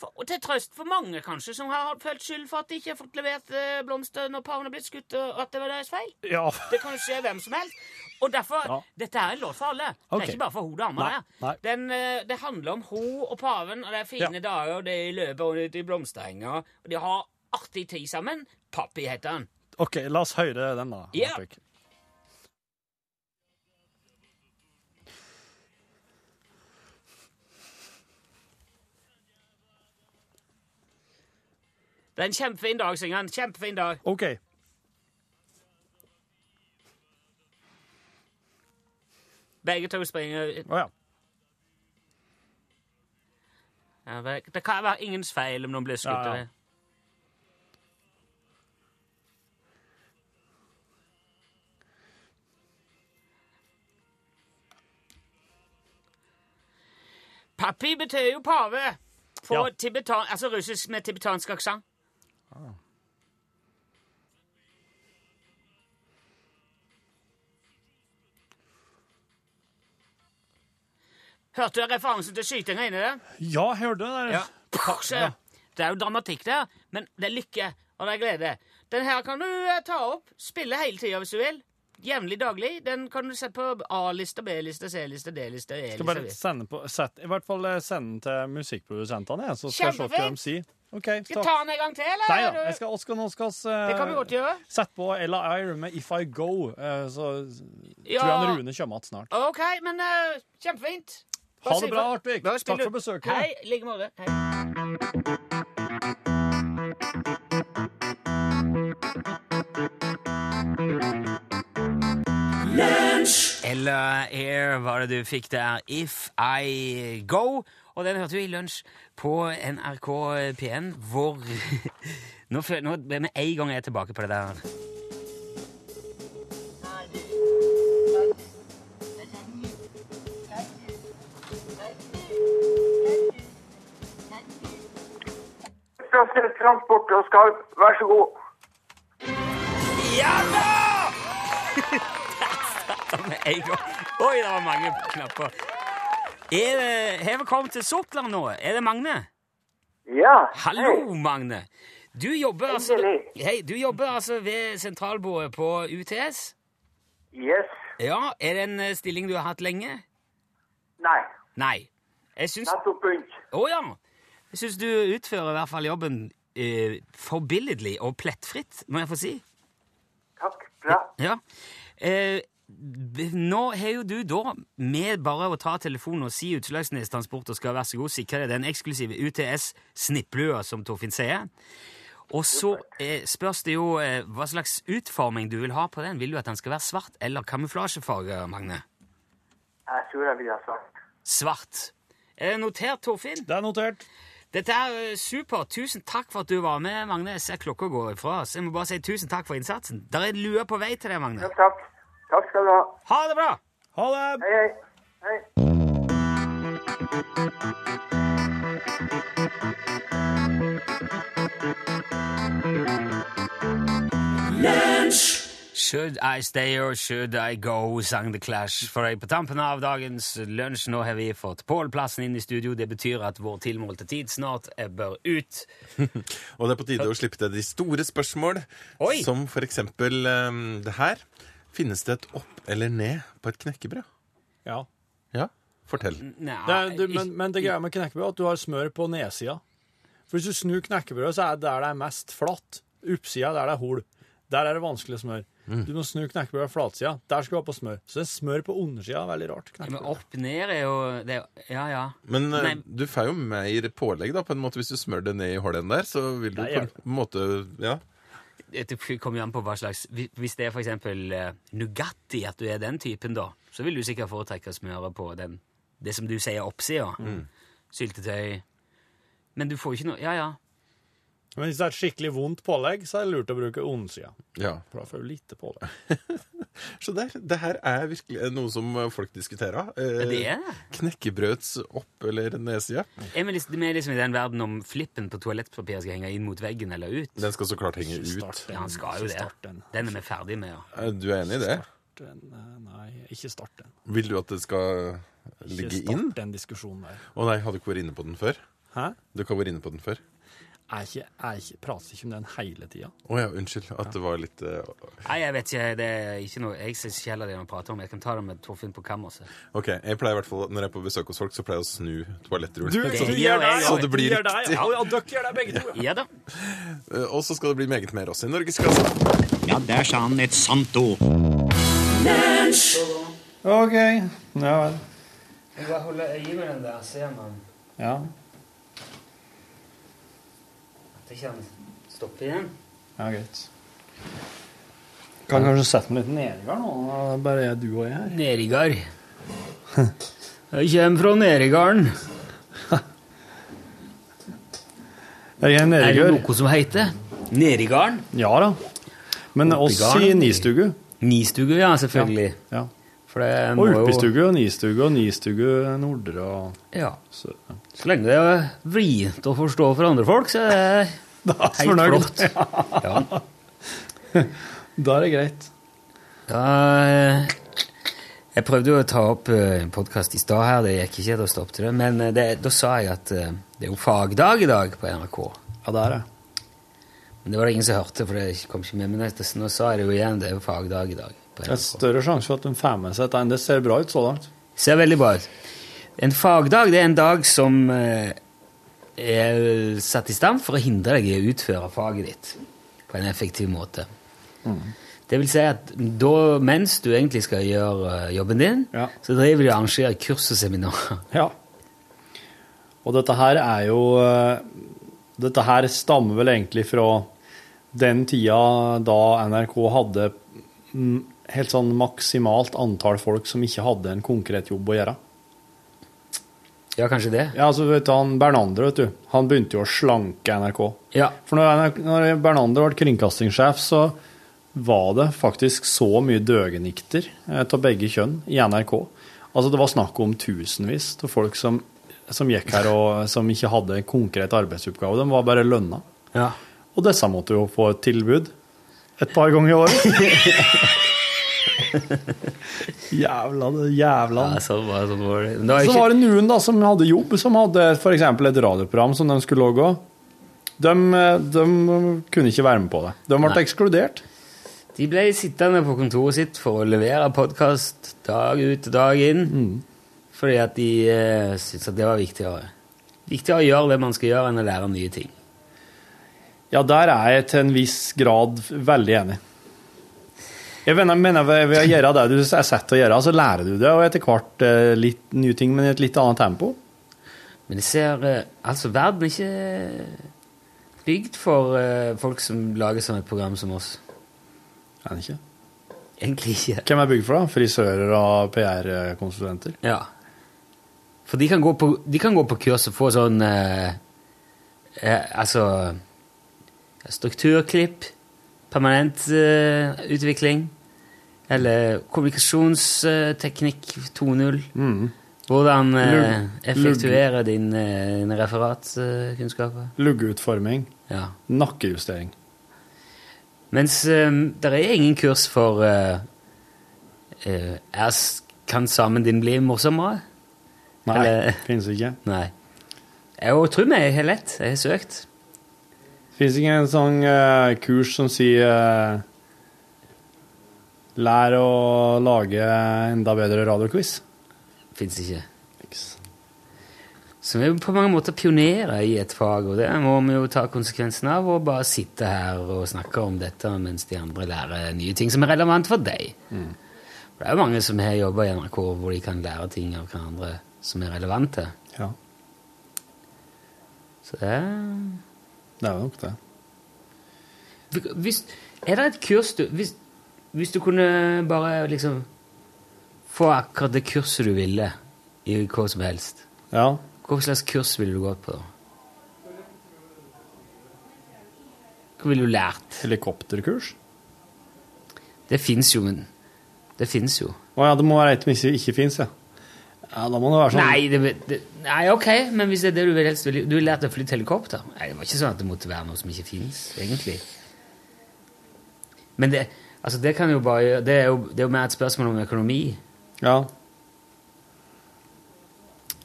for, og til trøst for mange, kanskje, som har følt skyld for at de ikke har fått levert eh, blomster når paven er blitt skutt, og at det var deres feil. ja. Det kan jo skje hvem som helst. Og derfor, Ja. Dette er en låt for alle. Det Ok. er ikke bare for hun dama. Nei, her. nei. Den, eh, det handler om hun og paven, og det er fine dager, og det er løpet og det er blomsterenger. Og de har artig tid sammen. Pappi heter han. OK, la oss høre den, da. Ja. håper jeg. Det er en kjempefin dag, synger han. Kjempefin dag. OK. Begge to springer ut. Å ja. Ja, vel, Det kan være ingens feil om noen blir skutt. Ja, ja. eller- Pappi betyr jo pave på Ja. tibetan, altså russisk med tibetansk aksent. Ah. Hørte du referansen til skytinga inni der? Ja, jeg hørte det der. Ja. Så, det er jo dramatikk der, men det er lykke og det er glede. Den her kan du eh, ta opp, spille hele tida hvis du vil. Jevnlig daglig. Den kan du sette på A-liste, B-liste, C-liste, D-liste, Skal bare E-liste. sende på sett, I hvert fall eh, sende den til musikkprodusentene, jeg, så skal jeg se hva Kjempefint. de sier. OK, Skal jeg ta den en gang til, eller? Nei er da, du- jeg skal, Oskar, nå skal vi Det kan vi godt gjøre. sette på Ella Eyre med If I Go, eh, så Ja. tror jeg han Rune kommer igjen snart. OK, men eh, kjempefint. Ha det bra, Hartvig. Bare spill Takk for ut. besøket. Hei. I like måte. Hei. Ella Air var det du fikk der, If I Go. Og den hørte du i lunsj på NRK P1, hvor Nå føler nå med en gang er jeg tilbake på det der. Transport og skarv, vær så god. Med en gang. Oi, det var mange knapper. Er det, hei, velkommen til Sortland nå. Er det Magne? Ja, Hallo, Magne. Du jobber altså, Endelig. hei, du jobber altså ved sentralbordet på UTS. yes, Ja, Er det en eh, stilling du har hatt lenge? nei, Nei. Jeg syns nettopp begynt. Å ja! Jeg syns du utfører i hvert fall jobben eh, forbilledlig og plettfritt, må jeg få si. Takk, bra. Ja. Eh, b- nå har jo du da, med bare å ta telefonen og si Utslagsnes Transport og skal vær så god sikre deg den eksklusive UTS-snipplua, som Torfinn sier. Og så eh, spørs det jo eh, hva slags utforming du vil ha på den. Vil du at den skal være svart eller kamuflasjefarge, Magne? Jeg tror jeg vil ha svart. Svart. Er det notert, Torfinn? Det er notert. Dette er eh, supert. Tusen takk for at du var med, Magne. Jeg ser klokka går ifra oss. Jeg må bare si tusen takk for innsatsen. Der er en lue på vei til deg, Magne. Takk. Takk skal du ha. Ha det bra! Ha det! Hei, hei. Hei. Should I stay or should I go, sang The Clash for deg på tampen av dagens lunsj. Nå har vi fått Pål-plassen inn i studio. Det betyr at vår tilmålte tid snart eh, bør ut. Og det er på tide å slippe til de store spørsmål, Oi! som for eksempel ehm, det her. Finnes det et opp eller ned på et knekkebrød? Ja. Ja, fortell. Nei, Det er, du, men, men det greia med knekkebrød er at du har smør på nedsida. For hvis du snur knekkebrødet, så er det der det er mest flatt. Oppsida er der det er hol. Der er det vanskelig smør. Mm. Du må snu knekkebrødet på flatsida. Der skal du ha på smør. Så det er smør på undersida. Veldig rart. Ja, Men knekkebrød. opp ned er jo det er, Ja, ja. Men eh, Nei. du får jo mer pålegg, da, på en måte. Hvis du smører det ned i hullene der, så vil du Nei, på en måte Ja. Det kommer jo an på hva slags hvi- Hvis det er for eksempel eh, Nugatti, at du er den typen, da, så vil du sikkert foretrekke smøret på den, det som du sier oppsida. Mm. Syltetøy Men du får jo ikke noe Ja, ja. Men hvis det er et skikkelig vondt pålegg, så er det lurt å bruke undersida. ja. For da får du lite pålegg. Så det, det her er virkelig noe som folk diskuterer. Eh, Det er det. Knekkebrøds opp- eller nedside. Er vi, liksom, vi er liksom i den verden om flippen på toalettpapir skal henge inn mot veggen eller ut. Den skal så klart henge ut. den. Ja, han skal jo Ikke det. start den. Den er vi ferdig med, ja. Eh, Du er enig i det? Start den. eh, Nei, ikke start den. Vil du at det skal Ikke ligge inn? start den diskusjonen der. Å nei, hadde ikke vært inne på den før? Hæ? Du kan vært inne på den før? Jeg, ikke, jeg ikke, prater ikke om den hele tida. Å ja, unnskyld. At det var litt eh, Nei, jeg vet ikke. Det er ikke noe Jeg syns ikke heller det er noe å prate om. Jeg kan ta det med Torfinn på kammerset. OK. Jeg pleier i hvert fall, når jeg er på besøk hos folk, så pleier jeg å snu Sånn. toalettrullen. du sånn- Så- gjør det, Så det blir Du gjør det, riktig. Ja, ja, dere gjør det begge to. ja. Ja da. Eh, Og så skal det bli meget mer også i Norgeskassen. Ja, der sa han et sant ord. OK. Ja vel. Jeg bare holder øye med den der, ser man Ja. at ikke han stopper igjen. Ja, greit. Kan kanskje sette meg litt nedgang nå. når det Bare er du og jeg her. Nerigard. Jeg kommer fra Nerigarden. Jeg er Er det nedgang. noe som heter Nerigarden? Ja da. Men oss i garden. nistugu. Nistugu, ja, selvfølgelig. Ja. For det må Og jo- ulpestugu og nistugu og nistugu nordre og Ja. så, ja. Så lenge det er vrient å forstå for andre folk, så er det Da er helt fornøyd. flott. Ja. Da er det greit. Ja, eh, jeg prøvde jo å ta opp eh, en podkast i stad her, det gikk ikke, da stoppet det. Men eh, det, da sa jeg at eh, det er jo fagdag i dag på NRK. Ja, det er det. Men det var det ingen som hørte, for det kom ikke med. Men etter- så nå sa jeg det jo igjen, det er jo fagdag i dag på Det er NRK. større sjanse for at de får med seg dette enn det ser bra ut så langt. Ser veldig bra ut. En fagdag det er en dag som eh, er satt i stand for å hindre deg i å utføre faget ditt på en effektiv måte. Det vil si at da, mens du egentlig skal gjøre eh, jobben din, Ja. så driver de og arrangerer kurs og seminarer. Ja. Og dette her er jo eh, Dette her stammer vel egentlig fra den tida da NRK hadde mm, helt sånn maksimalt antall folk som ikke hadde en konkret jobb å gjøre. Ja, kanskje det? Ja, altså, vet du, han Bernander, vet du, han begynte jo å slanke NRK. Ja. For når, når Bernander ble kringkastingssjef, så var det faktisk så mye døgenikter eh, av begge kjønn i NRK. Altså Det var snakk om tusenvis av folk som, som gikk her og som ikke hadde en konkret arbeidsoppgave. De var bare lønna. ja. Og disse måtte jo få et tilbud et par ganger i året. jævla, jævla sånn var det. Sånn var det. Men det var så ikke, var det noen da som hadde jobb, som hadde f.eks. et radioprogram som de skulle logge. De, de kunne ikke være med på det. De ble Nei. ekskludert. De ble sittende på kontoret sitt for å levere podkast dag ut og dag inn. Fordi at de uh, syntes at det var viktigere. Viktigere å gjøre det man skal gjøre, enn å lære nye ting. Ja, der er jeg til en viss grad veldig enig. Jeg mener, mener ved ved å gjøre det du er sett til å gjøre, så lærer du det, og etter hvert eh, litt nye ting, men i et litt annet tempo. Men det ser eh, Altså, verden er ikke eh, bygd for eh, folk som lager sånn et program som oss. Er det ikke? Egentlig ikke. Hvem er bygd for, da? Frisører og PR-konsulenter? Ja. For de kan gå på, de kan gå på kurs og få sånn eh, eh, Altså Strukturklipp, permanent eh, utvikling, eller kommunikasjonsteknikk 2.0. Hvordan eh, Lugg- effektuere din, eh, din referatkunnskaper. Luggeutforming? ja. Nakkejustering? Mens det er ingen kurs for eh, eh, er, s- Kan sammen din bli morsommere? Nei, Eller- finnes ikke. Nei. Jeg tror vi har lett. Jeg har søkt. Fins ikke en sånn eh, kurs som sier eh, Lær å lage enda bedre radioquiz? Fins ikke. Så vi er jo på mange måter pionerer i et fag, og det må vi jo ta konsekvensen av og bare sitte her og snakke om dette mens de andre lærer nye ting som er relevant for deg. For det er jo mange som har jobba i NRK hvor de kan lære ting av hverandre som er relevante. Ja. Så det er Det er jo nok det. hvis, Er det et kurs du hvis, hvis du kunne bare liksom få akkurat det kurset du ville i hva som helst, Ja. hva slags kurs ville du gått på da? Hva ville du lært? Helikopterkurs? Det fins jo, men Det fins jo. Å ja, det må være et hvis det ikke fins, ja. ja. Da må det være sånn Nei, det, det, nei, ok, men hvis det er det du vil helst vil, Du vil lære deg å flytte helikopter? Nei, det var ikke sånn at det måtte være noe som ikke fins, egentlig. Men det, altså, det kan jo bare gjøre- det er jo, det er jo mer et spørsmål om økonomi. Ja.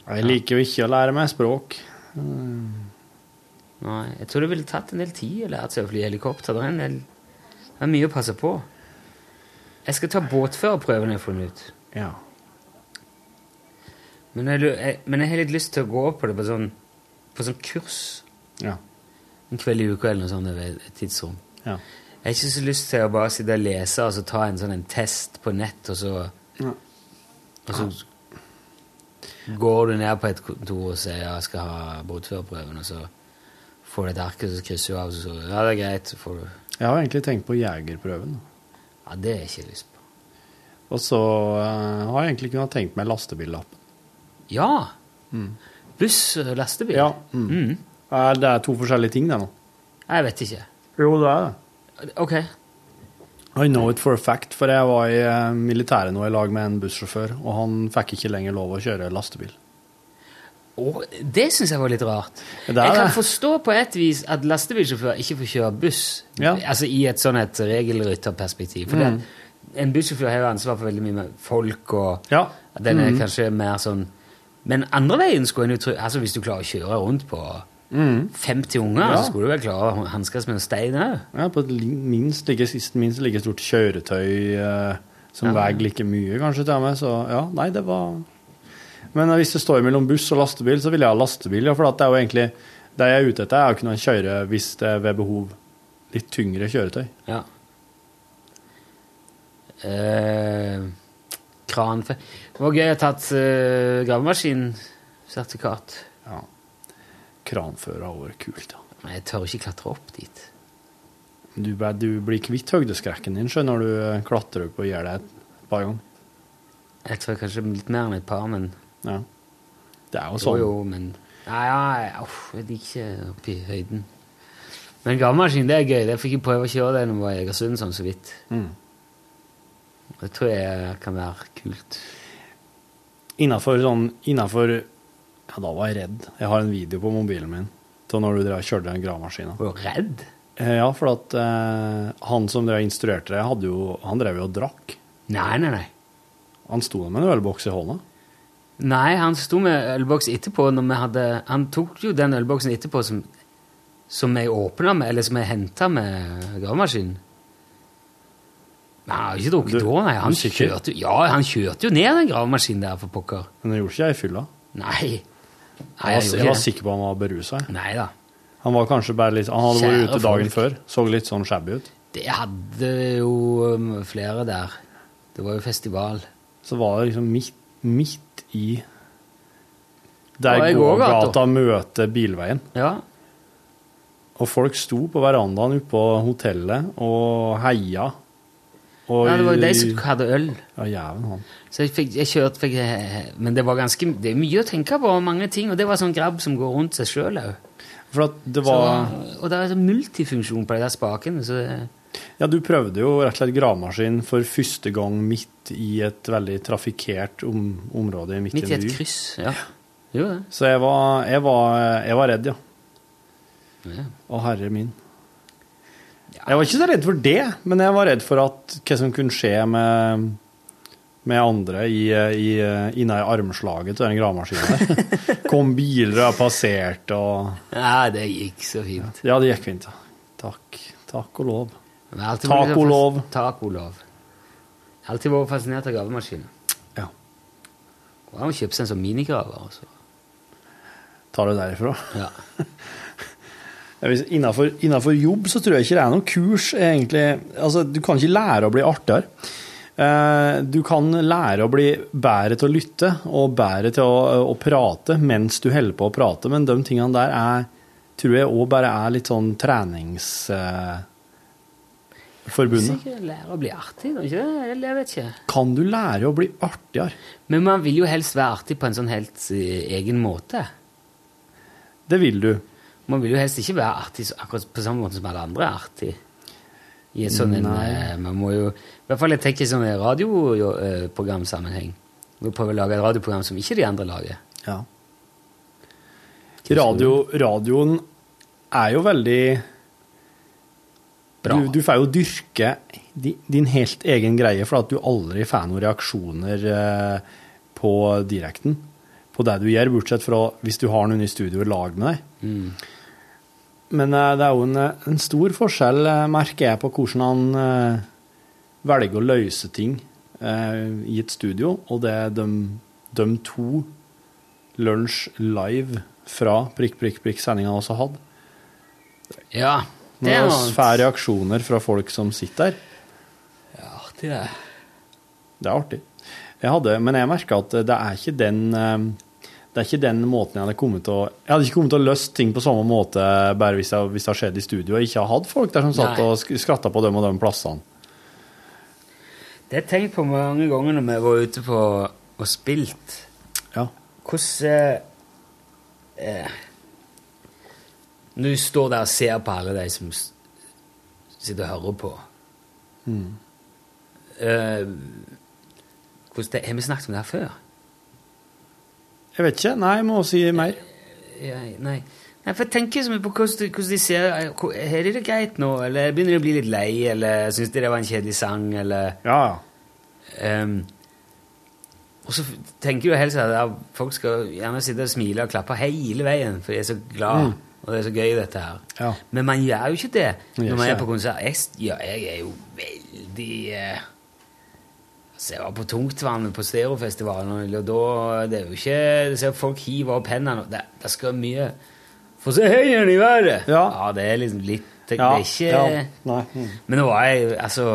Jeg liker jo ikke å lære meg språk. Nei, jeg tror det ville tatt en del tid å lære seg å fly helikopter. Det er, en del, det er mye å passe på. Jeg skal ta båtførerprøven jeg har funnet ut. Ja. Men jeg, lu- jeg, men jeg har litt lyst til å gå på det på sånn, på sånn kurs. Ja. En kveld i uka eller noe sånt over et tidsrom. Ja. Jeg har ikke så lyst til å bare sitte og lese og så ta en sånn en test på nett, og så, Ja. og så går du ned på et kontor og sier ja, jeg skal ha båtførerprøven, og så får du et ark, og så krysser du av, og så ja, det er greit, så får du Jeg har egentlig tenkt på jegerprøven. Ja, det har jeg ikke lyst på. Og så eh, har jeg egentlig kunnet tenkt meg lastebillappen. Ja! Buss og Mm. lastebil? Ja. Mm. Mm. Eh, Det er to forskjellige ting, det nå. Jeg vet ikke. Jo, det er det. OK. I know it for a fact, for jeg var i eh, militæret nå i lag med en bussjåfør, og han fikk ikke lenger lov å kjøre lastebil. Og det syns jeg var litt rart. Det er jeg kan det. forstå på et vis at lastebilsjåfør ikke får kjøre buss, Ja. altså i et sånn et regelrytterperspektiv. For Mm. det at en bussjåfør har jo ansvar for veldig mye med folk, og Ja. at den er Mhm. kanskje mer sånn Men andre veien skulle en jo tro Altså hvis du klarer å kjøre rundt på 50 unger, Mm. Ja. så skulle du vel klare å hanskes med en stein òg. ja på et li- minst like, sist, minst like stort kjøretøy eh, som Ja. veier like mye, kanskje, til og med. Så ja, nei, det var Men eh, hvis det står mellom buss og lastebil, så vil jeg ha lastebil, ja, for at det er jo egentlig det jeg er ute etter, er å kunne kjøre, hvis det er ved behov, litt tyngre kjøretøy. Ja. Eh, kranfe Det var gøy å ha tatt eh, gravemaskinsertifikat. Ja. Kranfører har vært kult, ja. Men jeg tør ikke klatre opp dit. Du, ble- du blir kvitt høydeskrekken din, skjønner du, eh, klatrer opp og gjør det et par ganger. Jeg tror kanskje litt mer enn et par, men Ja. Det er jo Jo, sånn. jo, men Nei, nei, uff, jeg liker ikke opp i høyden. Men gravemaskin, det er gøy. Jeg fikk jeg prøve å kjøre det når jeg var i Egersund, sånn så vidt. Mm. Det tror jeg kan være kult. Innenfor sånn Innenfor Ja, da var jeg redd. Jeg har en video på mobilen min av når du drev og kjørte den gravemaskina. Og redd? Eh, Ja, for at eh, han som drev og instruerte deg, hadde jo Han drev jo og drakk. Nei, nei, nei. Han sto der med en ølboks i hånda. Nei, han sto med ølboks etterpå når vi hadde Han tok jo den ølboksen etterpå som, som jeg åpna med, eller som jeg henta med gravemaskinen. Men han har jo ikke drukket Du- da, nei. Han du sikker? kjørte, jo- ja, han kjørte jo ned den gravemaskinen der, for pokker. Men det gjorde ikke jeg i fylla. Nei. Nei, Jeg var, jeg jeg gjorde var ikke det. sikker på han var berusa. Nei da. Han var kanskje bare litt Han hadde vært Kjære ute dagen folk. før. Så litt sånn shabby ut. Det hadde jo um, flere der. Det var jo festival. Så var det liksom midt, midt i Ja, Der i gågata. gågata møter bilveien. Ja. Og folk sto på verandaen ute på hotellet og heia. Og, Nei, det var jo de som hadde øl. Ja, jæven han. Så jeg, fikk, jeg kjørte fikk, eh, Men det var ganske Det er mye å tenke på, og mange ting. Og det var sånn grabb som går rundt seg sjøl òg. For at det var Og det er sånn multifunksjon på de der spakene, så det- Ja, du prøvde jo rett og slett gravemaskin for første gang midt i et veldig trafikkert om, område midt, midt i i en et by. kryss. Ja. Jo, det. Så jeg var, jeg, var, jeg var redd, ja. Ja. Å, herre min. Jeg var ikke så redd for det, men jeg var redd for at hva som kunne skje med, med andre i, i, inne i armslaget til den gravemaskinen der. Kom biler og passerte og Ja, det gikk så fint. Ja, det gikk fint, ja. Takk. Takk og lov. Men jeg har alltid vært- Tacolov. Tacolov. Jeg har Alltid vært fascinert av gravemaskiner. Ja. Og han kjøpte seg en sånn minigraver. og så- Tar det derifra. Ja, hvis- Innenfor, innenfor jobb så tror jeg ikke det er noen kurs, egentlig. Altså, du kan ikke lære å bli artigere. Eh, Du kan lære å bli bedre til å lytte og bedre til å, å prate mens du holder på å prate, men de tingene der er, tror jeg òg bare er litt sånn eh, treningsforbundet. Sikkert lære å bli artig, da, ikke det? Eller jeg vet ikke. Kan du lære å bli artigere? Men man vil jo helst være artig på en sånn helt eh, egen måte. Det vil du. Man vil jo helst ikke være artig så- akkurat på samme måte som alle andre er artig. I en sånn en, Nei. eh, man må jo, I hvert fall jeg tenker i sånn eh, radioprogramsammenheng. Må prøve å lage et radioprogram som ikke de andre lager. Ja. Radio, radioen er jo veldig Bra. Du, du får jo dyrke di- din helt egen greie, for at du aldri får noen reaksjoner eh, på direkten. På det du gjør, bortsett fra hvis du har noen i studio i lag med deg. Men eh, det er jo en, eh, en stor forskjell, eh, merker jeg, på hvordan han eh, velger å løse ting eh, i et studio, og det er de, de to lunsj live fra prikk, prikk, prikk-sendinga også hadde. Ja, Når det er vi noe får reaksjoner fra folk som sitter der. artig, det. Det er artig. Jeg hadde, men jeg merka at det er ikke den eh, det er ikke den måten jeg hadde kommet til å Jeg hadde ikke kommet til å løst ting på samme måte bare hvis, jeg, hvis det har skjedd i studio og ikke har hatt folk der som satt Nei. og sk- skratta på dem og de plassene. Det har jeg tenkt på mange ganger når vi var ute på og spilt. Ja. Hvordan eh, eh, Når du står der og ser på alle de som s- sitter og hører på eh, hvordan det, Har vi snakket om det her før? Jeg vet ikke. Nei, jeg må si mer. Jeg, nei. nei, for jeg tenker så mye på hvordan, de- hvordan de ser eh, hvor- Har de det greit nå, eller begynner de å bli litt lei, eller syns de det var en kjedelig sang, eller Ja, Ehm, og så f- tenker du helst at ja, folk skal gjerne sitte og smile og klappe hele veien, for de er så glad, og det er så gøy, dette her. Mm. Ja. Men man gjør jo ikke det Man gjør når man ikke er på det. konsert. Jeg, s- ja, jeg er jo veldig eh, Altså, jeg var på tungtvannet på Stereofestivalen, og da Det er jo ikke det ser Folk hiver opp hendene, og det, det skal mye Få se høyden i været! Ja. det er liksom litt Det, ja. det er ikke ja. Nei. Mm. men nå var jeg altså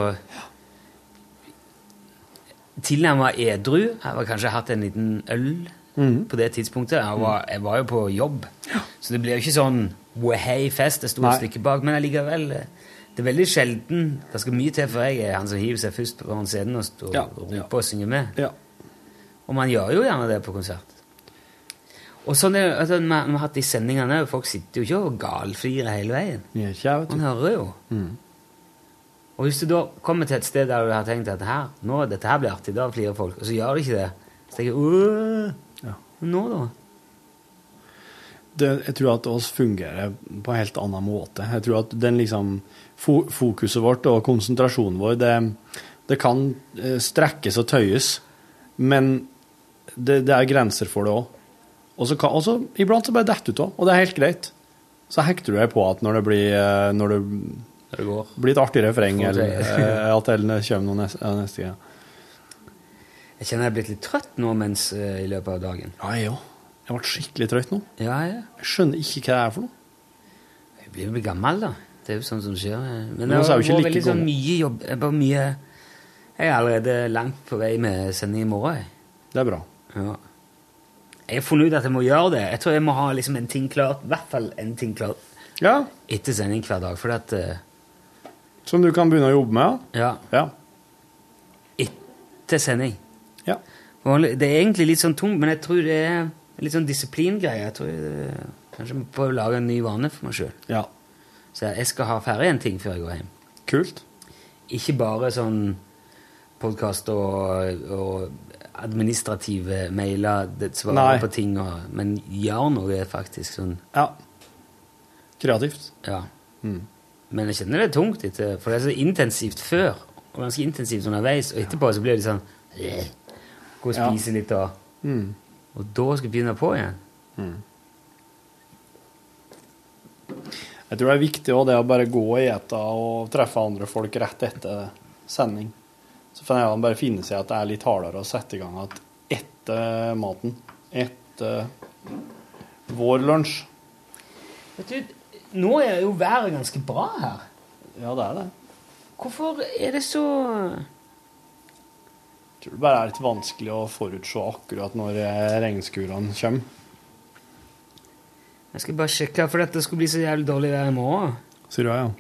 Tilnærma edru. Jeg hadde kanskje hatt en liten øl Mm. på det tidspunktet. Jeg var, jeg var jo på jobb, så det ble jo ikke sånn wahey-fest. Det sto et Nei. stykke bak, men allikevel eh, Det er veldig sjelden Det skal mye til for jeg er han som hiver seg først på scenen og står Ja. og roper og synger med. Ja. Og man gjør jo gjerne det på konsert. Og sånn er det, altså, man, man har hatt de sendingene, folk sitter jo ikke og galflirer hele veien. Gjør ikke jeg, vet Man du. hører jo. Og hvis du da kommer til et sted der du har tenkt at her, nå, dette her blir artig, da flirer folk, og så gjør de ikke det, så tenker jeg «Øh, Ja. Nå, da? det, jeg tror at oss fungerer på en helt annen måte. Jeg tror at den liksom fo fokuset vårt og konsentrasjonen vår, det, det kan eh, strekkes og tøyes, men det, det er grenser for det òg. Og så kan- og så iblant så bare detter ut òg, og det er helt greit. Så hekter du deg på at når det blir, eh, når det Det går. blir et artig refreng, Får eller det. eh, at det kommer noe neste, ja, neste gang. Jeg kjenner jeg er blitt litt trøtt nå mens eh, i løpet av dagen. Ja, jeg òg. Jeg ble skikkelig trøtt nå. Ja, ja. Jeg skjønner ikke hva det er for noe. Jeg blir jo blitt gammel, da. Det er jo sånt som skjer. eh. Men Men det oss er jo var ikke like veldig sånn gamle. mye jobb. Jeg, bare mye, jeg er allerede langt på vei med sending i morgen. jeg. Det er bra. Ja. Jeg har funnet ut at jeg må gjøre det. Jeg tror jeg må ha liksom en ting klart, i hvert fall en ting klart Ja, etter sending hver dag. Fordi at eh, Som du kan begynne å jobbe med? Ja. Ja. Etter sending. ja. Vanlig- Det er egentlig litt sånn tungt, men jeg tror det er litt sånn disiplingreie. Jeg tror eh, Kanskje jeg må prøve å lage en ny vane for meg sjøl. Ja. Så jeg skal ha ferdig en ting før jeg går hjem. Kult. Ikke bare sånn podkast og, og administrative mailer, det Nei. svarer på ting og Men gjør noe, faktisk. Sånn, Ja. Kreativt. ja. Men jeg kjenner det er tungt, etter, for det er så intensivt før. Og ganske intensivt underveis, og etterpå så blir det sånn eh, Gå og Ja. spise litt, og Og da skal jeg begynne på igjen. Jeg tror det er viktig også, det å bare gå og ete og treffe andre folk rett etter sending. Så får jeg bare finne seg at det er litt hardere å sette i gang at etter maten. Etter Vår lunsj. Vet du, nå er jo været ganske bra her. Ja, det er det. Hvorfor er det så Jeg tror det bare er litt vanskelig å forutse akkurat når eh, regnskurene kommer. Jeg skal bare sjekke, for dette skulle bli så jævlig dårlig vær i morgen. Sier du ja, ja.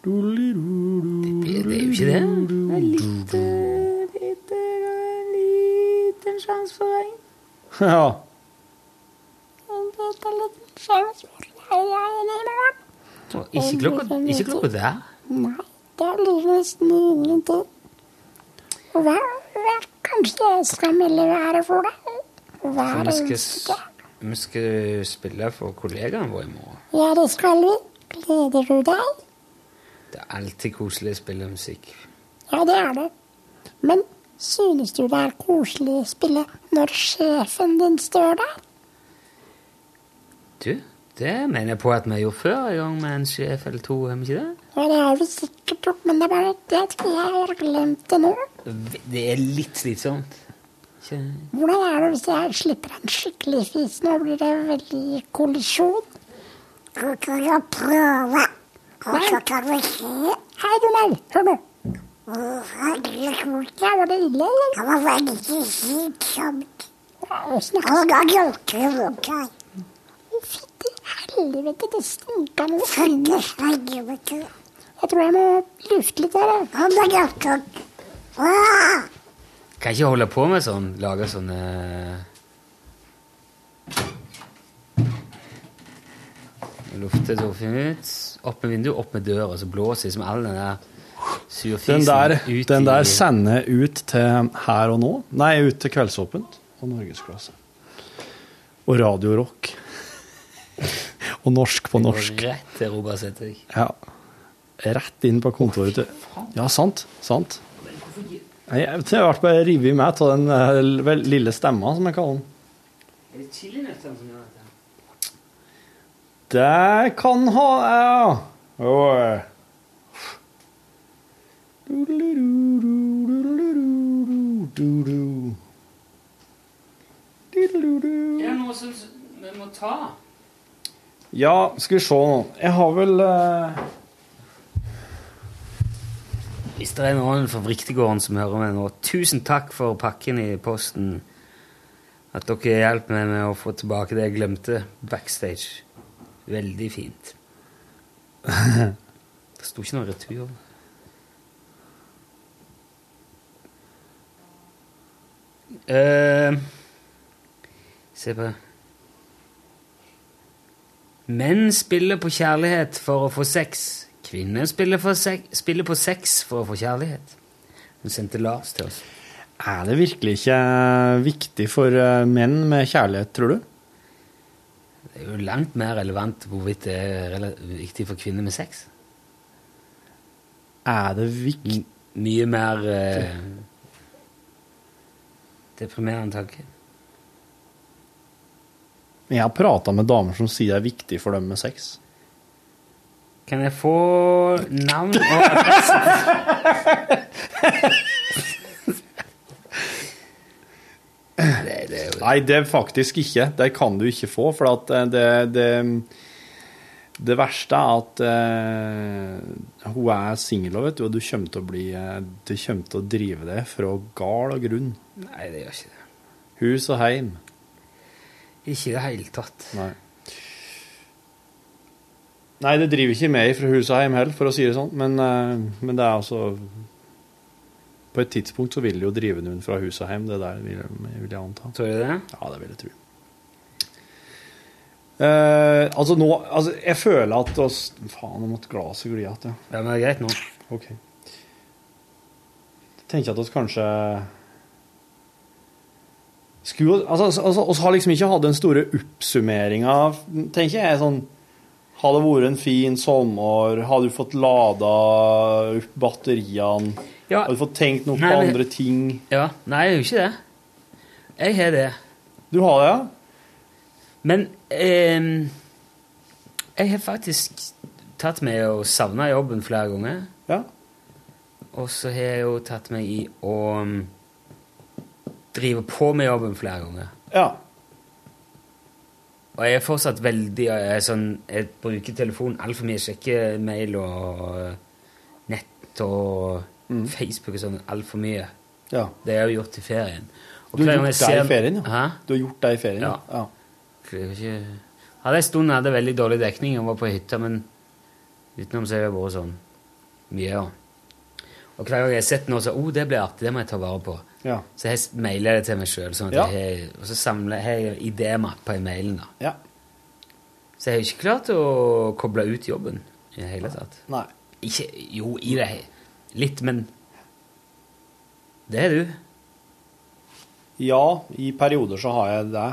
Det er jo ikke det. Det er litt, eh, litt, eh, liten sjanse for regn. ja. Og Ikke klokka, ikke klokka der. Det er nesten ingenting. Hva, hva kanskje jeg skal melde været for deg? For Hver vi skal, eneste s- vi skal spille for kollegaen vår i morgen. Ja, det skal vi. Gleder du deg? Det er alltid koselig å spille musikk. Ja, det er det. Men synes du det er koselig å spille når sjefen din står der? Du, det mener jeg på at vi har gjort før, en gang med en sjef eller to, har vi ikke det? Ja, det har vi sikkert gjort, men det er bare det at jeg har glemt det nå. Det er litt slitsomt. Ikke? Hvordan er det hvis jeg slipper en skikkelig fis? Nå blir det veldig kollisjon. Du kan jo prøve. Og så kan vi se. Hei, Donald. Hør nå. Ja, var det ille, eller? Det var veldig slitsomt. Åssen er det? Jeg hjelper deg. Fytti helvete, det stinker noe. Fytti helvete. Jeg tror jeg må lufte litt her, jeg. Ja, det hjelper. Kan ikke holde på med sånn, lage sånne Lufte Torfinn ut. Opp med vinduet, opp med døra, så blåser liksom all den der surfisen Den der, ut den i- der sender ut til her og nå. Nei, ut til Kveldsåpent og Norgesklasse. Og Radio Rock. og norsk på går norsk. Rett til Robert Sætervik. Ja. Rett inn på kontoret til Ja, sant. Sant. Nei, Jeg jeg ble bare revet med av den eh, vel- lille stemma, som jeg kaller den. Er det chilinøttene som gjør dette? Det kan ha Ja. eh. Oi. Er det noe som vi må ta? Ja, skal vi se nå. Jeg har vel eh, Hvis det er noen fra Vriktegården som hører meg nå, tusen takk for pakken i posten. At dere hjelper meg med å få tilbake det jeg glemte backstage. Veldig fint. Det sto ikke noe retur. Eh, se på Menn spiller på kjærlighet for å få sex. Kvinner spiller, for sek spiller på sex for å få kjærlighet. Hun sendte Lars til oss. Er det virkelig ikke viktig for eh, menn med kjærlighet, tror du? Det er jo langt mer relevant hvorvidt det er rela- viktig for kvinner med sex. Er det viktig Mye mer eh, deprimerende tanke. Jeg har prata med damer som sier det er viktig for dem med sex. Kan jeg få navn og Nei, det er faktisk ikke. Det kan du ikke få, for at eh, det, det det verste er at eh, hun er singel, vet du, og du kommer til å bli eh, Du kommer til å drive det fra gal og grunn. Nei, det gjør ikke det. Hus og heim. Ikke i det hele tatt. Nei. Nei, det driver ikke meg fra hus og heim heller, for å si det sånn, men, eh, men det er altså På et tidspunkt så vil det jo drive noen fra hus og heim, det der vil, vil jeg anta. Tror du det? Ja, det vil jeg tro. Eh, altså nå altså Jeg føler at oss Faen, om at glasset glir igjen. Ja. Ja, men det er greit nå. OK. Tenker at oss kanskje Skulle Altså, altså oss har liksom ikke hatt den store oppsummeringa, tenker jeg. sånn Har det vært en fin sommer? Har du fått lada opp batteriene? Ja. Har du fått tenkt noe Nei, på men- andre ting? Ja, Nei, jeg gjør ikke det. Jeg har det. Du har det, ja? Men ehm, jeg har faktisk tatt meg og savna jobben flere ganger. Ja. Og så har jeg jo tatt meg i å ehm, mm, drive på med jobben flere ganger. Ja. Og jeg er fortsatt veldig eh, sånn Jeg bruker telefonen altfor mye. Jeg sjekker mail og eh, nett og Mm. Facebook og sånn altfor mye. Ja. Det har jeg jo gjort i ferien. Og Du har hver gang gjort jeg ser- det i ferien, ja. Hæ? Du har gjort det i ferien, ja. Ja. Jeg har ikke... Hadde en stund jeg hadde veldig dårlig dekning og var på hytta, men utenom så har det vært sånn mye, ja. Og hver gang jeg har sett noe, så oh, det blir artig, det må jeg ta vare på. Ja. Så jeg s- mailer det til meg sjøl, sånn at Ja. jeg har- og så samler har jeg idémappa i mailen. da. Ja. Så jeg har ikke klart å koble ut jobben i det hele tatt. Nei. Ikke, jo, i det he- litt, men Det er du. Ja, i perioder så har jeg det.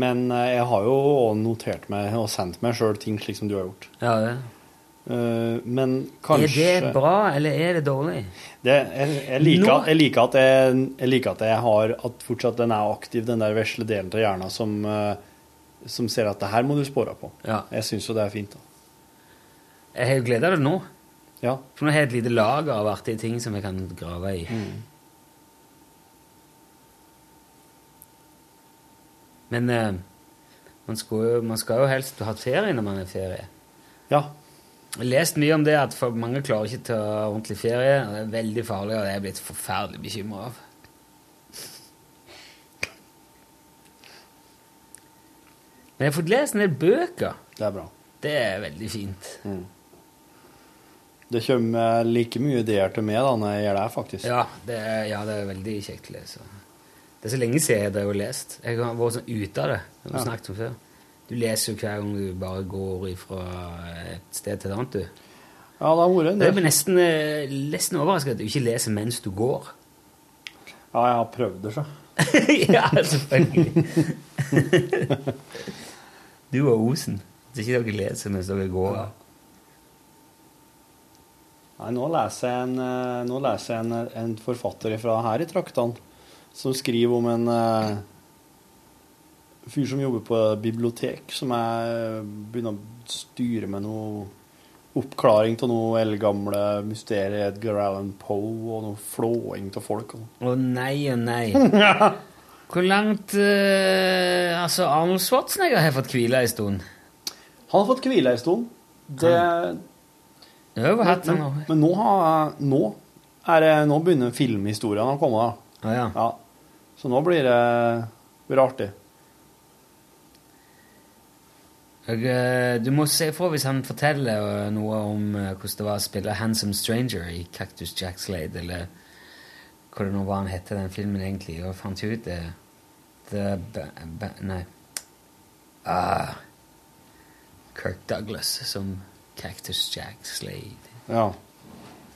Men eh, jeg har jo også notert meg og sendt meg sjøl ting slik som du har gjort. Ja, det. Eh, Men kanskje Er det bra, eller er det dårlig? Det, jeg, jeg, liker, Nå- jeg, liker at jeg, jeg liker at jeg har at fortsatt den er aktiv, den der vesle delen av hjernen som, eh, som ser at det her må du spore på. Jeg syns jo det er fint. da. Jeg har jo glede av det nå. Ja. For nå har jeg et lite lager av artige ting som jeg kan grave i. Men eh, man, skal jo, man skal jo helst ha ferie når man er ferie. Ja. Jeg har lest mye om det at for mange klarer ikke ta ordentlig ferie. og Det er veldig farlig, og det er jeg blitt forferdelig bekymra av. Men jeg har fått lest en del bøker. Det er bra. Det er veldig fint. Det kommer eh, like mye ideer til meg da når jeg gjør det, faktisk. Ja det, er, ja, det er veldig kjekt å lese. Det er så lenge siden jeg drev og lest. Jeg har vært sånn ute av det. som vi Ja. snakket om før. Du leser jo hver gang du bare går fra et sted til et annet, du. Ja, det har vært en Det del. er nesten, eh, nesten overraskende at du ikke leser mens du går. Ja, jeg har prøvd det, så. ja, selvfølgelig. du og Osen. Hvis ikke dere leser mens dere går. Nei, nå leser jeg en, eh, nå leser jeg en, en forfatter fra her i traktene som skriver om en eh, fyr som jobber på bibliotek, som er, begynner å styre med noe oppklaring til noe eldgamle mysterier, Edgar Allan Poe, og noe flåing til folk. Og Å nei, å nei. Hvor langt eh, Altså, Arnold Schwarzenegger har fått hvile en stund. Han har fått hvile en stund. Det, Det har jo hatt han men, også. men nå, har, nå, er det, nå begynner filmhistorien å komme. Da. Ja, ja. Så nå blir det, blir det artig. Jeg, eh, du må se fra hvis han forteller eh, noe om eh, hvordan det var å spille Handsome Stranger i Cactus Jack Slade, eller hva det nå var han hette den filmen egentlig, og fant jo ut det. The, b, b, nei. Ah, Kirk Douglas som Cactus Jack Slade. Ja.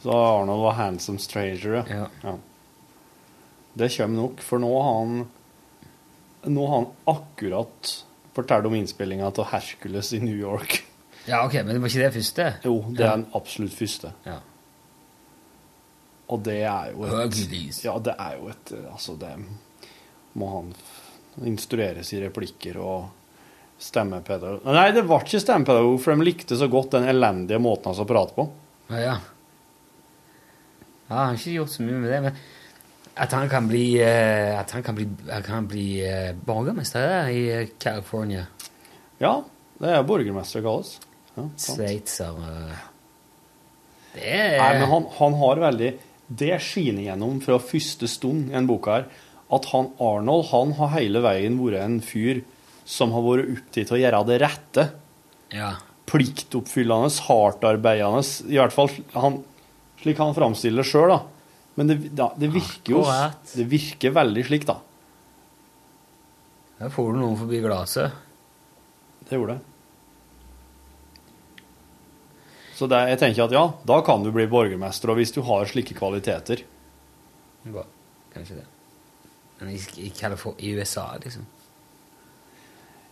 Så Arnold var handsome stranger, Ja. ja. Det kommer nok, for nå har han Nå har han akkurat fortalt om innspillinga til Hercules i New York. Ja, ok, men det var ikke det første? Jo, det Ja. er den absolutt første. Ja. Og det er jo Hercules. Ja, det er jo et Altså, det må han f- instrueres i replikker og stemmepedagog Nei, det ble ikke stemmepedagog, for de likte så godt den elendige måten han skal prate på. Ja, ja. Ja, han har ikke gjort så mye med det, men at han kan bli, eh, at han kan bli, han kan bli eh, borgermester der i eh, California. Ja, det er borgermester det kalles. Ja, sant. Sveitser eh. Det er Nei, men han, han har veldig Det skiner gjennom fra første stund i en bok her at han Arnold han har hele veien vært en fyr som har vært opptatt av å gjøre det rette. Ja. Pliktoppfyllende, hardtarbeidende I hvert fall han, slik han framstiller det sjøl, da. Men det, da, det virker jo Akkurat. Det virker veldig slik, da. Der får du noen forbi glaset. Det gjorde det. Så det, jeg tenker at ja, da kan du bli borgermester, og hvis du har slike kvaliteter. Bra. Kanskje det. Men i, i, Californ- i USA, liksom.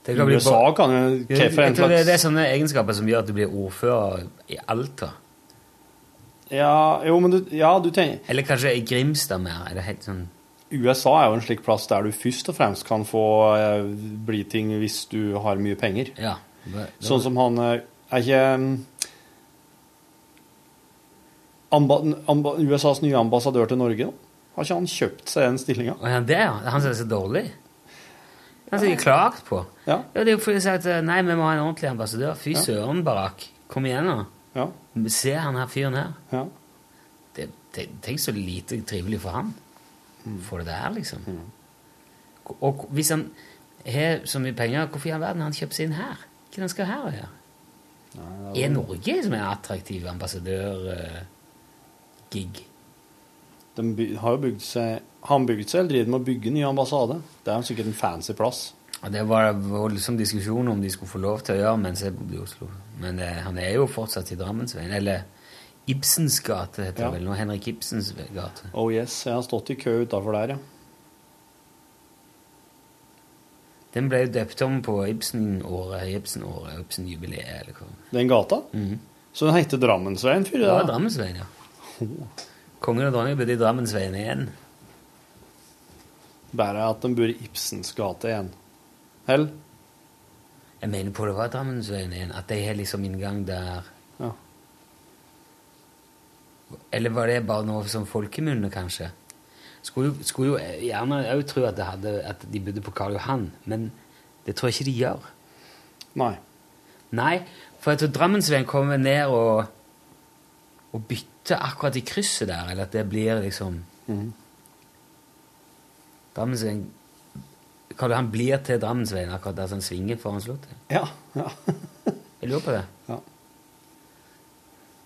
Det kan bli USA bor- kan jo Jeg- hva for en jeg tror det, slags- det er sånne egenskaper som gjør at du blir ordfører i Alta. Ja, jo, men du, ja, du tenker Eller kanskje i Grimstad mer. Er det helt sånn USA er jo en slik plass der du først og fremst kan få eh, bli ting hvis du har mye penger. Ja. det- det- Sånn som han eh, Er ikke mm, amba, amba, USAs nye ambassadør til Norge, da? Har ikke han kjøpt seg den stillinga? Å, er han det, ja? Han som er så dårlig? Altså, de klagde på. Ja. Ja, det er jo fordi de sier at eh, nei, vi må ha en ordentlig ambassadør. Fy Ja. søren, Barak. Kom igjen, nå. Ja. Se han her fyren her. Ja. Det, te- tenk så lite trivelig for han. For det der, liksom. Og, og hvis han har så mye penger, hvorfor i all verden har han kjøpt seg inn her? Hva han skal her og gjøre? Er Norge som en attraktiv eh, ambassadør-gig? De by har jo bygd seg Han bygd seg eller driver med å bygge ny ambassade. Det er jo sikkert en fancy plass. Og Det var voldsom diskusjon om de skulle få lov til å gjøre mens jeg bodde i Oslo. Men eh, han er jo fortsatt i Drammensveien. Eller Ibsens gate, heter Ja. det vel nå. Henrik Ibsens gate. Oh yes, jeg har stått i kø utafor der, ja. Den ble jo døpt om på Ibsen-året, Ibsen-året, Ibsen-jubileet, eller hva. Den gata. Så den heter Drammensveien før i Det var dag? Drammensveien, ja. Kongen og dronningen bodde i Drammensveien igjen. Bare at de bor i Ibsens gate igjen. Hell? Jeg mener på det var Drammensveien igjen, at de har liksom inngang der. Ja. Eller var det bare noe som folkemunne, kanskje? Skulle, jo- skulle jo eh, gjerne òg tro at, det hadde- at de bodde på Karl Johan, men det tror jeg ikke de gjør. Nei. Nei, for jeg tror Drammensveien kommer ned og, og bytter akkurat i krysset der, eller at det blir liksom Drammensveien Karl Johan blir til Drammensveien akkurat der som svinger foran Slottet. Ja. ja. Jeg lurer på det. Ja.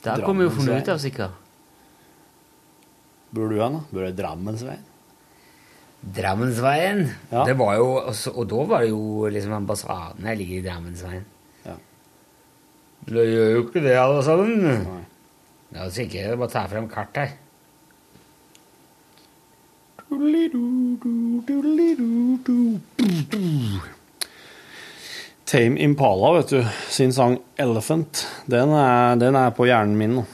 Der kommer jo funnet Drammensveien. ut av, sikkert. Bor du hen, da? Bor du i Drammensveien? Drammensveien. Det var jo, og, så, og da var det jo liksom ambassaden her ligger i Drammensveien. Ja. Det gjør jo ikke det, alle sammen. Det er sikkert bare å ta frem kart her. Tame Impala, vet du, sin sang 'Elephant', den er, den er på hjernen min nå.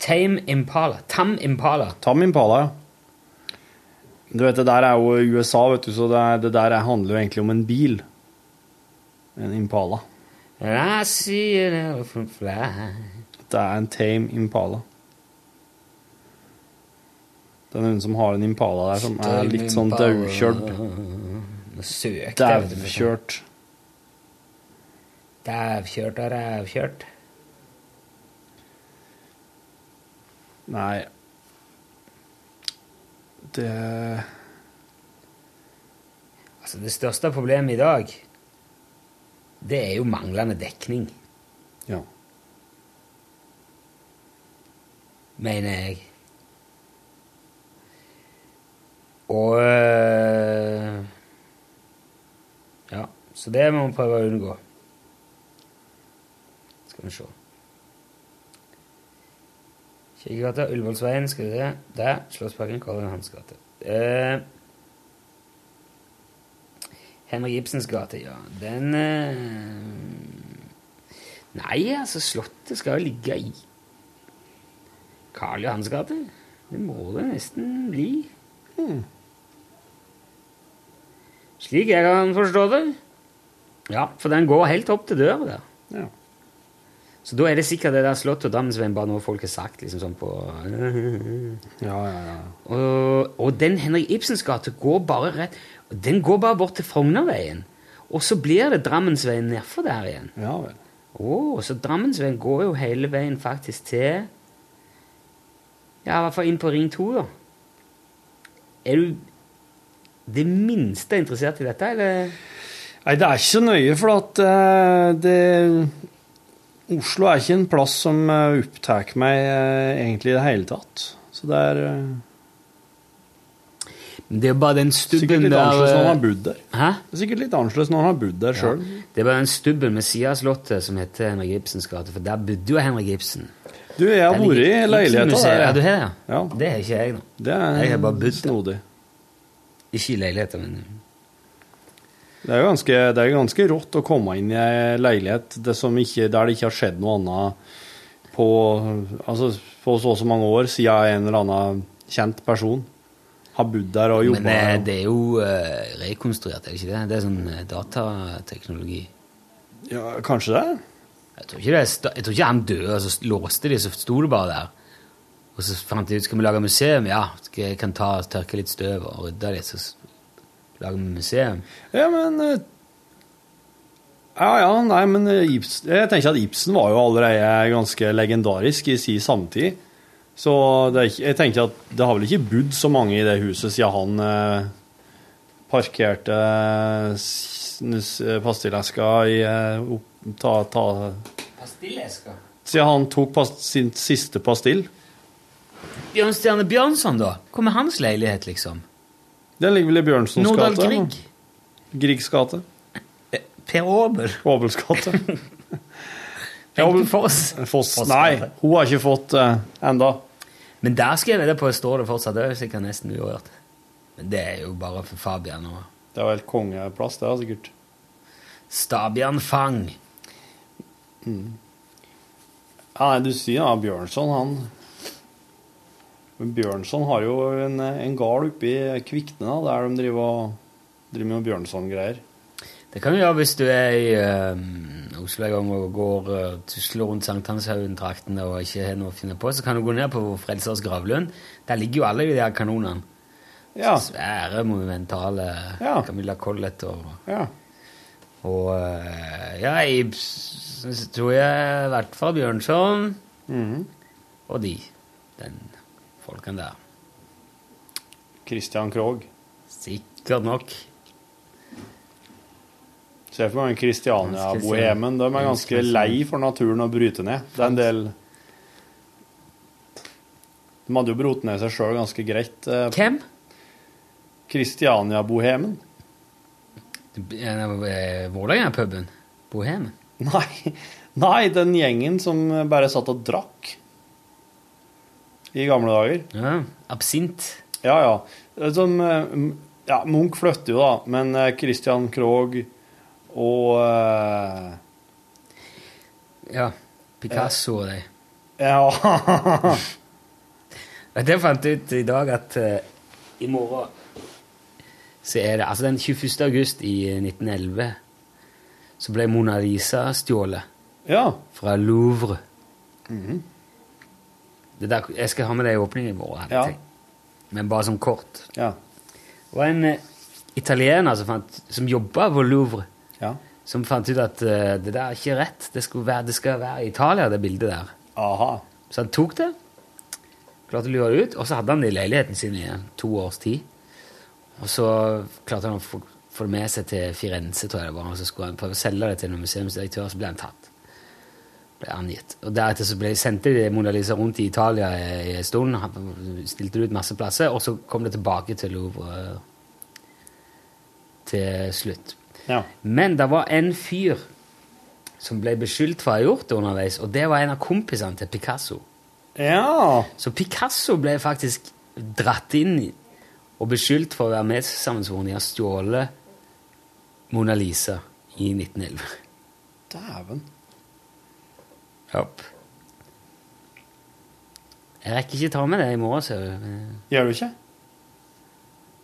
Tame Impala. Tam Impala. Tam Impala, ja. Du vet, det der er jo USA, vet du, så det, er, det der er- handler jo egentlig om en bil. En Impala. And I see an elephant fly. Det er en Tame Impala. Det er noen som har en Impala der som er litt sånn daukjørt. Søkt. Daukjørt. Dævkjørt og rævkjørt. Nei Det Altså, det største problemet i dag, det er jo manglende dekning. Ja. Mener jeg. Og øh, Ja, så det må vi prøve å unngå. Skal vi se Kirkegata, Ullevålsveien, skal vi se. Der. Slottsparken, Karl Johans gate. Eh, Henrik Ibsens gate, ja. Den eh, Nei, altså, Slottet skal jo ligge i Karl Johans gate. Det må det nesten bli. Slik jeg kan forstå det. Ja, for den går helt opp til døra der. Ja. Så da er det sikkert det der Slottet og Drammensveien bare noe folk har sagt liksom sånn på Ja, ja, ja. og, og den Henrik Ibsens gate går bare rett Den går bare bort til Frognerveien. Og så blir det Drammensveien nedfor der igjen. Ja vel. Å, så Drammensveien går jo hele veien faktisk til Ja, i hvert fall inn på Ring 2, da. Er du det minste interessert i dette, eller? Nei, det er ikke så nøye, for at eh, det Oslo er ikke en plass som eh, opptar meg eh, egentlig i det hele tatt. Så det er eh, Det er bare den stubben sikkert litt der, annerledes når eh, man har bodd der. Hæ? Det er sikkert litt annerledes når man har bodd der sjøl. Det er bare den stubben ved siden av slottet som heter Henrik Ibsens gate, for der bodde jo Henrik Ibsen. Du, jeg har Der vært ligger i leiligheta Ibsen-museet. der. Ja, du har det? Ja. Det har ikke jeg, nå. Det er Jeg har bare bodd der. snodig. Ikke i leiligheta, men Det er jo ganske, det er ganske rått å komme inn i ei leilighet det som ikke, der det ikke har skjedd noe annet på, altså, på så og så mange år, siden en eller annen kjent person har bodd der og jobba Men eh, der. det er jo eh, rekonstruert, er det ikke det? Det er sånn eh, datateknologi. Ja, kanskje det? Jeg tror ikke, det, er sta- jeg tror ikke han døde, og så låste de, så sto det bare der. Og så fant de ut skal vi lage museum. Ja, skal jeg kan ta, tørke litt støv og rydde litt, så s- lager vi museum. Ja, men eh, Ja, ja, nei, men eh, Ibs- jeg tenker at Ibsen var jo allerede ganske legendarisk i sin samtid. Så det er ikke, jeg tenker at det har vel ikke bodd så mange i det huset siden han eh, parkerte eh, s- s- eh, pastilleska i eh, opp- ta, ta, Pastilleska. Siden han tok pas, sin siste pastill. Bjørn Stjerne Bjørnson, da? Hvor med hans leilighet, liksom? Den ligger vel i Bjørnsons Nordahl gate. Grieg. Eh, Griegs gate. Per Aabel. Aabels gate. Aabel Foss. Foss. Nei, hun har ikke fått eh, enda. Men der skal jeg vedde på står det fortsatt. Det er jo sikkert nesten uavgjort. Men det er jo bare for Fabian og Det er vel kongeplass, det, er sikkert. Stabian Fang. Ja, nei, du sier ja, Bjørnson, han Men Bjørnson har jo en, en gard oppe i Kvikne, da, der de driver, og- driver med Bjørnson-greier. Det kan du gjøre hvis du er i eh, Oslo en gang og går eh, til- slår rundt Sankthanshaugen-traktene og ikke har noe å finne på, så kan du gå ned på Frelsers gravlund. Der ligger jo alle de der kanonene. Ja. Svære, monumentale Camilla Collett og Ja. Og eh, ja, jeg s- s- tror jeg i hvert fall Bjørnson Mhm. og de. Den folken der. Christian Krogh. Sikkert nok. Se for deg Kristiania-bohemen. De er ganske lei for naturen å bryte ned. Det er en del De hadde jo brotet ned seg sjøl ganske greit. eh, Hvem? Kristiania-bohemen. eh, Vålerenga-puben? Bohemen? Nei. Nei, den gjengen som bare satt og drakk i gamle dager. Ja, Absint. Ja, ja. Det er Som, eh, m- ja Munch flytter jo, da, men eh, Christian Krogh og eh, Ja. Picasso og de. Ja. Vet du, Jeg fant ut i dag at eh, i morgen så er det Altså den 21. august i 1911 så ble Mona Lisa stjålet. Ja. Fra Louvre. Mhm. Det der, jeg skal ha med det i åpningen i morgen, hadde jeg Ja. tenkt. men bare som kort. Ja. Det var en eh, italiener som, fant- som jobba på Louvre, Ja. som fant ut at eh, det der er ikke rett. Det, skulle være, det skal være Italia, det bildet der. Aha. Så han tok det, klarte å lure det ut, og så hadde han det i leiligheten sin i to års tid. Og så klarte han å få, få det med seg til Firenze, tror jeg det var, og så skulle han prøve å selge det til en museumsdirektør, så ble han tatt. Ble angitt. Og deretter så ble, sendte de Mona Lisa rundt i Italia i en stund, han stilte det ut masse plasser, og så kom det tilbake til Louvre til slutt. Ja. Men det var en fyr som ble beskyldt for å ha gjort det underveis, og det var en av kompisene til Picasso. Ja. Så Picasso ble faktisk dratt inn i- og beskyldt for å være medsammensvoren i å stjåle Mona Lisa i 1911. Dæven. Jopp. Jeg rekker ikke ta med det i morgen, ser du. Gjør du ikke?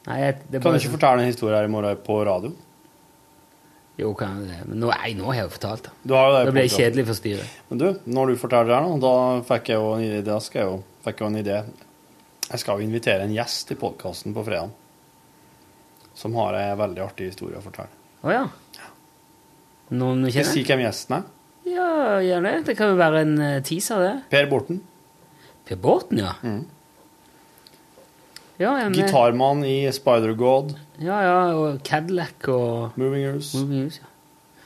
Nei, jeg, det er Kan bare du ikke sånn- fortelle en historie her i morgen på radio? Jo, kan jeg det. Men nå, nei, nå har jeg jo fortalt det. Du har jo det Da blir på jeg radio. kjedelig for styret. Men du, når du forteller det her nå, da fikk jeg jo en idé. Da skal jeg jo, fikk jeg jo en idé. Jeg skal jo invitere en gjest til podkasten på fredag. Som har ei veldig artig historie å fortelle. Å ja. Noen du Skal jeg si kjenner? hvem gjesten er? Ja, gjerne. Det kan jo være en eh, teaser, det. Per Borten. Per Borten, ja. Mm. Ja, jeg er med. Gitarmann i Spider-God. Ja, ja, og Cadillac og Moving House. Mm. ja.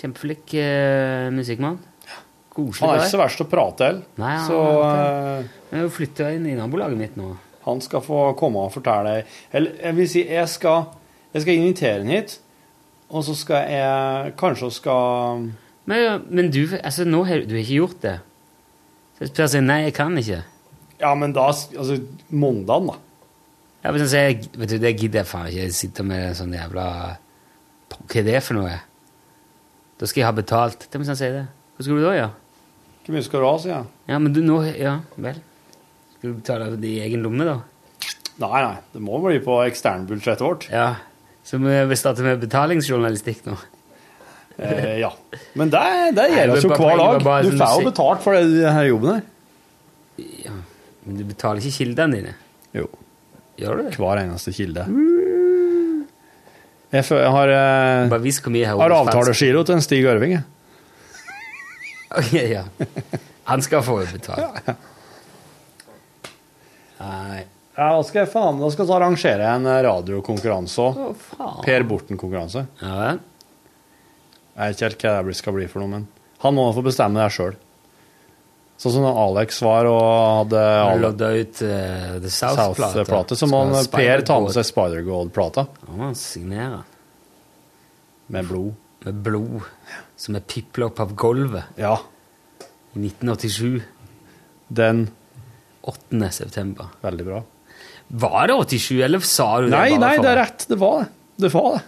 Kjempeflink eh, musikkmann. Koselig. Han er ikke så guy. verst å prate til. Nei, han så er eh, Jeg har jo flytta inn i nabolaget mitt nå. han skal få komme og fortelle deg Eller jeg vil si, jeg skal, jeg skal invitere han hit. Og så skal jeg Kanskje skal Men, men du, altså, nå har du har ikke gjort det. Så Per sier nei, jeg kan ikke. Ja, men da Altså, mandagen, da. Ja, men så sier jeg, vet du, det gidder jeg faen ikke. Jeg sitter med sånn jævla Hva er det for noe? Da skal jeg ha betalt. Det må jeg si det. Hva skal du da gjøre? Hvor mye skal du ha, sier jeg. Ja, men du nå Ja, vel. Skal du betale det i egen lomme, da? Nei, nei. Det må bli på eksternbudsjettet vårt. Ja. Så vi vi starter med betalingsjournalistikk nå. Eh, ja. Men det, det Nei, gjør det oss jo var hver bare- det dag. var Du bare sånn får jo musikk. betalt for det- denne jobben her. Men du betaler ikke kildene dine. Jo. Gjør du det? Hver eneste kilde. Mm. Jeg, fø- jeg har, eh, Bare visk hvor mye har avtalegiro til en Stig Ørving. jeg. Ok, ja. Han skal få betalt. Nei. Ja, da skal jeg faen, da skal jeg arrangere en eh, radiokonkurranse òg. Å, faen. Per Borten-konkurranse. Ja. Jeg vet ikke helt hva det blir- skal bli for noe, men han må få bestemme det sjøl. Sånn som når Alex var og hadde Han Ale- lodda ut eh, The South-plata. South-plate, så må Skal han- ha eh, Per ta med Spider-Gold. seg Spider-Gold-plata Ja, han signerer. med blod. Med blod som er pipla opp av gulvet. Ja. I 1987. Den 8. september. Veldig bra. Var det 87, eller sa du Nei, det? bare nei, for- det er rett. Det var det. Det var det.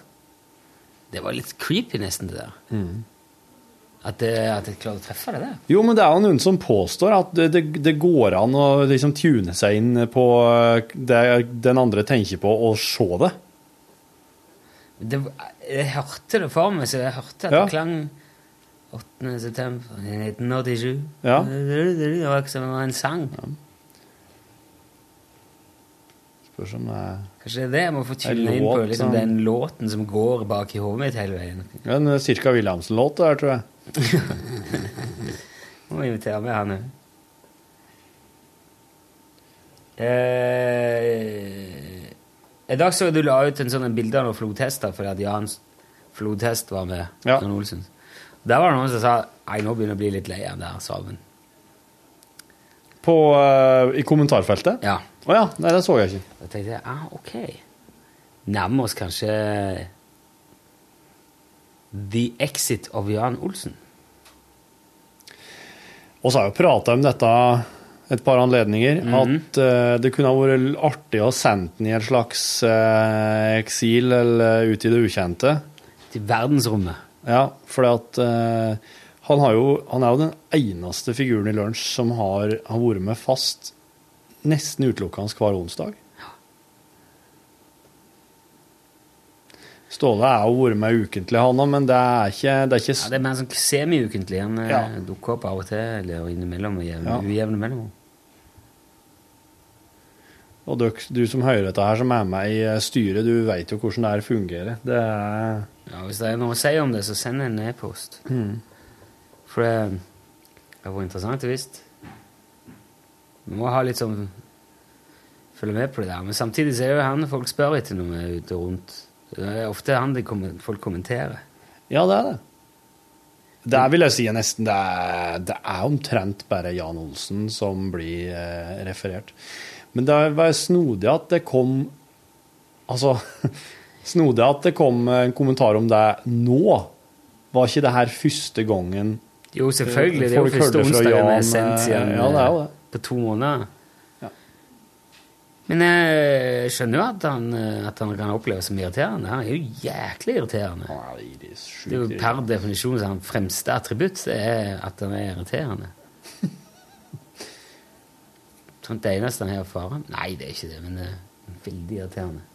Det var litt creepy, nesten, det der. Mm. At, det, at jeg klarte å treffe det der. Jo, men det er jo noen som påstår at det, det, det går an å liksom tune seg inn på eh, det den andre tenker på, og se det. det jeg hørte det for meg, så jeg hørte at Ja. det klang 8. september 1987. Ja. Det var ikke som om det var en sang. Spørs om eh, det er Kanskje det er det jeg må få En tune inn på, låt som- liksom den låten som går bak i hodet mitt hele veien. Ja, En Cirka Williamsen-låt, det her, tror jeg. Må invitere med han òg. Eh, I dag så du la ut en sånn en bilde av noen flodhester, fordi at Jan Flodhest var med. Ja. Jan Olsen. Der var det noen som sa Nei, nå begynner jeg å bli litt lei av den der salmen. På, eh, I kommentarfeltet? Ja. Å ja. Nei, det så jeg ikke. Da tenkte jeg ah, ok. Nærmer oss kanskje The Exit of Jan Olsen. Og så har jeg jo prata om dette et par anledninger, Mhm. at eh, det kunne ha vært l- artig å sende den i en slags eh, eksil eller ut i det ukjente. Til verdensrommet. Ja, for at eh, han, har jo, han er jo den eneste figuren i lunsj som har, har vært med fast nesten utelukkende hver onsdag. Ståle er jo vært med ukentlig, han òg, men det er ikke, det er ikke Ja, s- det er mer sånn semiukentlig. Han eh, Ja. dukker opp av og til, eller innimellom. og Jevne, Ja. Ujevne mellom. Og dere, du som hører dette her, som er med i eh, styret, du vet jo hvordan det her fungerer. Det er Ja, hvis det er noe å si om det, så send en e-post. For det det har vært interessant visst. Vi må ha litt sånn Følge med på det der. Men samtidig så er det jo han folk spør etter når vi er ute rundt. Det er ofte han det kommer, folk kommenterer. Ja, det er det. Det er, vil jeg si, nesten det er, det er omtrent bare Jan Olsen som blir eh, referert. Men det var snodig at det kom Altså Snodig at det kom en kommentar om det nå. Var ikke det her første gangen Jo, selvfølgelig. Det er jo Eh, Folk første hørte fra onsdagen vi Jan, er sendt siden eh, ja, det er jo det. eh, på to måneder. Men eh, jeg skjønner jo at han, eh, at han kan oppleves som irriterende. Han er jo jæklig irriterende. Nei, det er sjukt Det er jo irriterende. per definisjon så hans fremste attributt det er at han er irriterende. Sånn det eneste han har å fare med. Nei, det er ikke det, men det er veldig irriterende.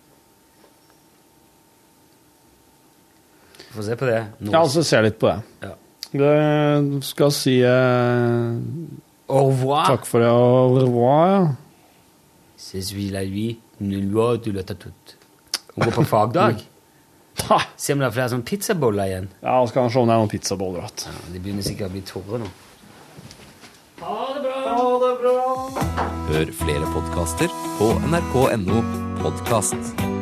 Få se på det. nå. Ja, altså, se litt på det. Ja. Det skal si eh, Au revoir! takk for det og au revoir. ja. C'est celui-là, ne lui a du løtta tutt. Hun går på fagdag. Ha! Se om det er flere sånne pizzaboller igjen. Ja, og skal han se om det er noen pizzaboller igjen. Ja, De begynner sikkert å bli tørre nå. Hør flere podkaster på nrk.no podkast.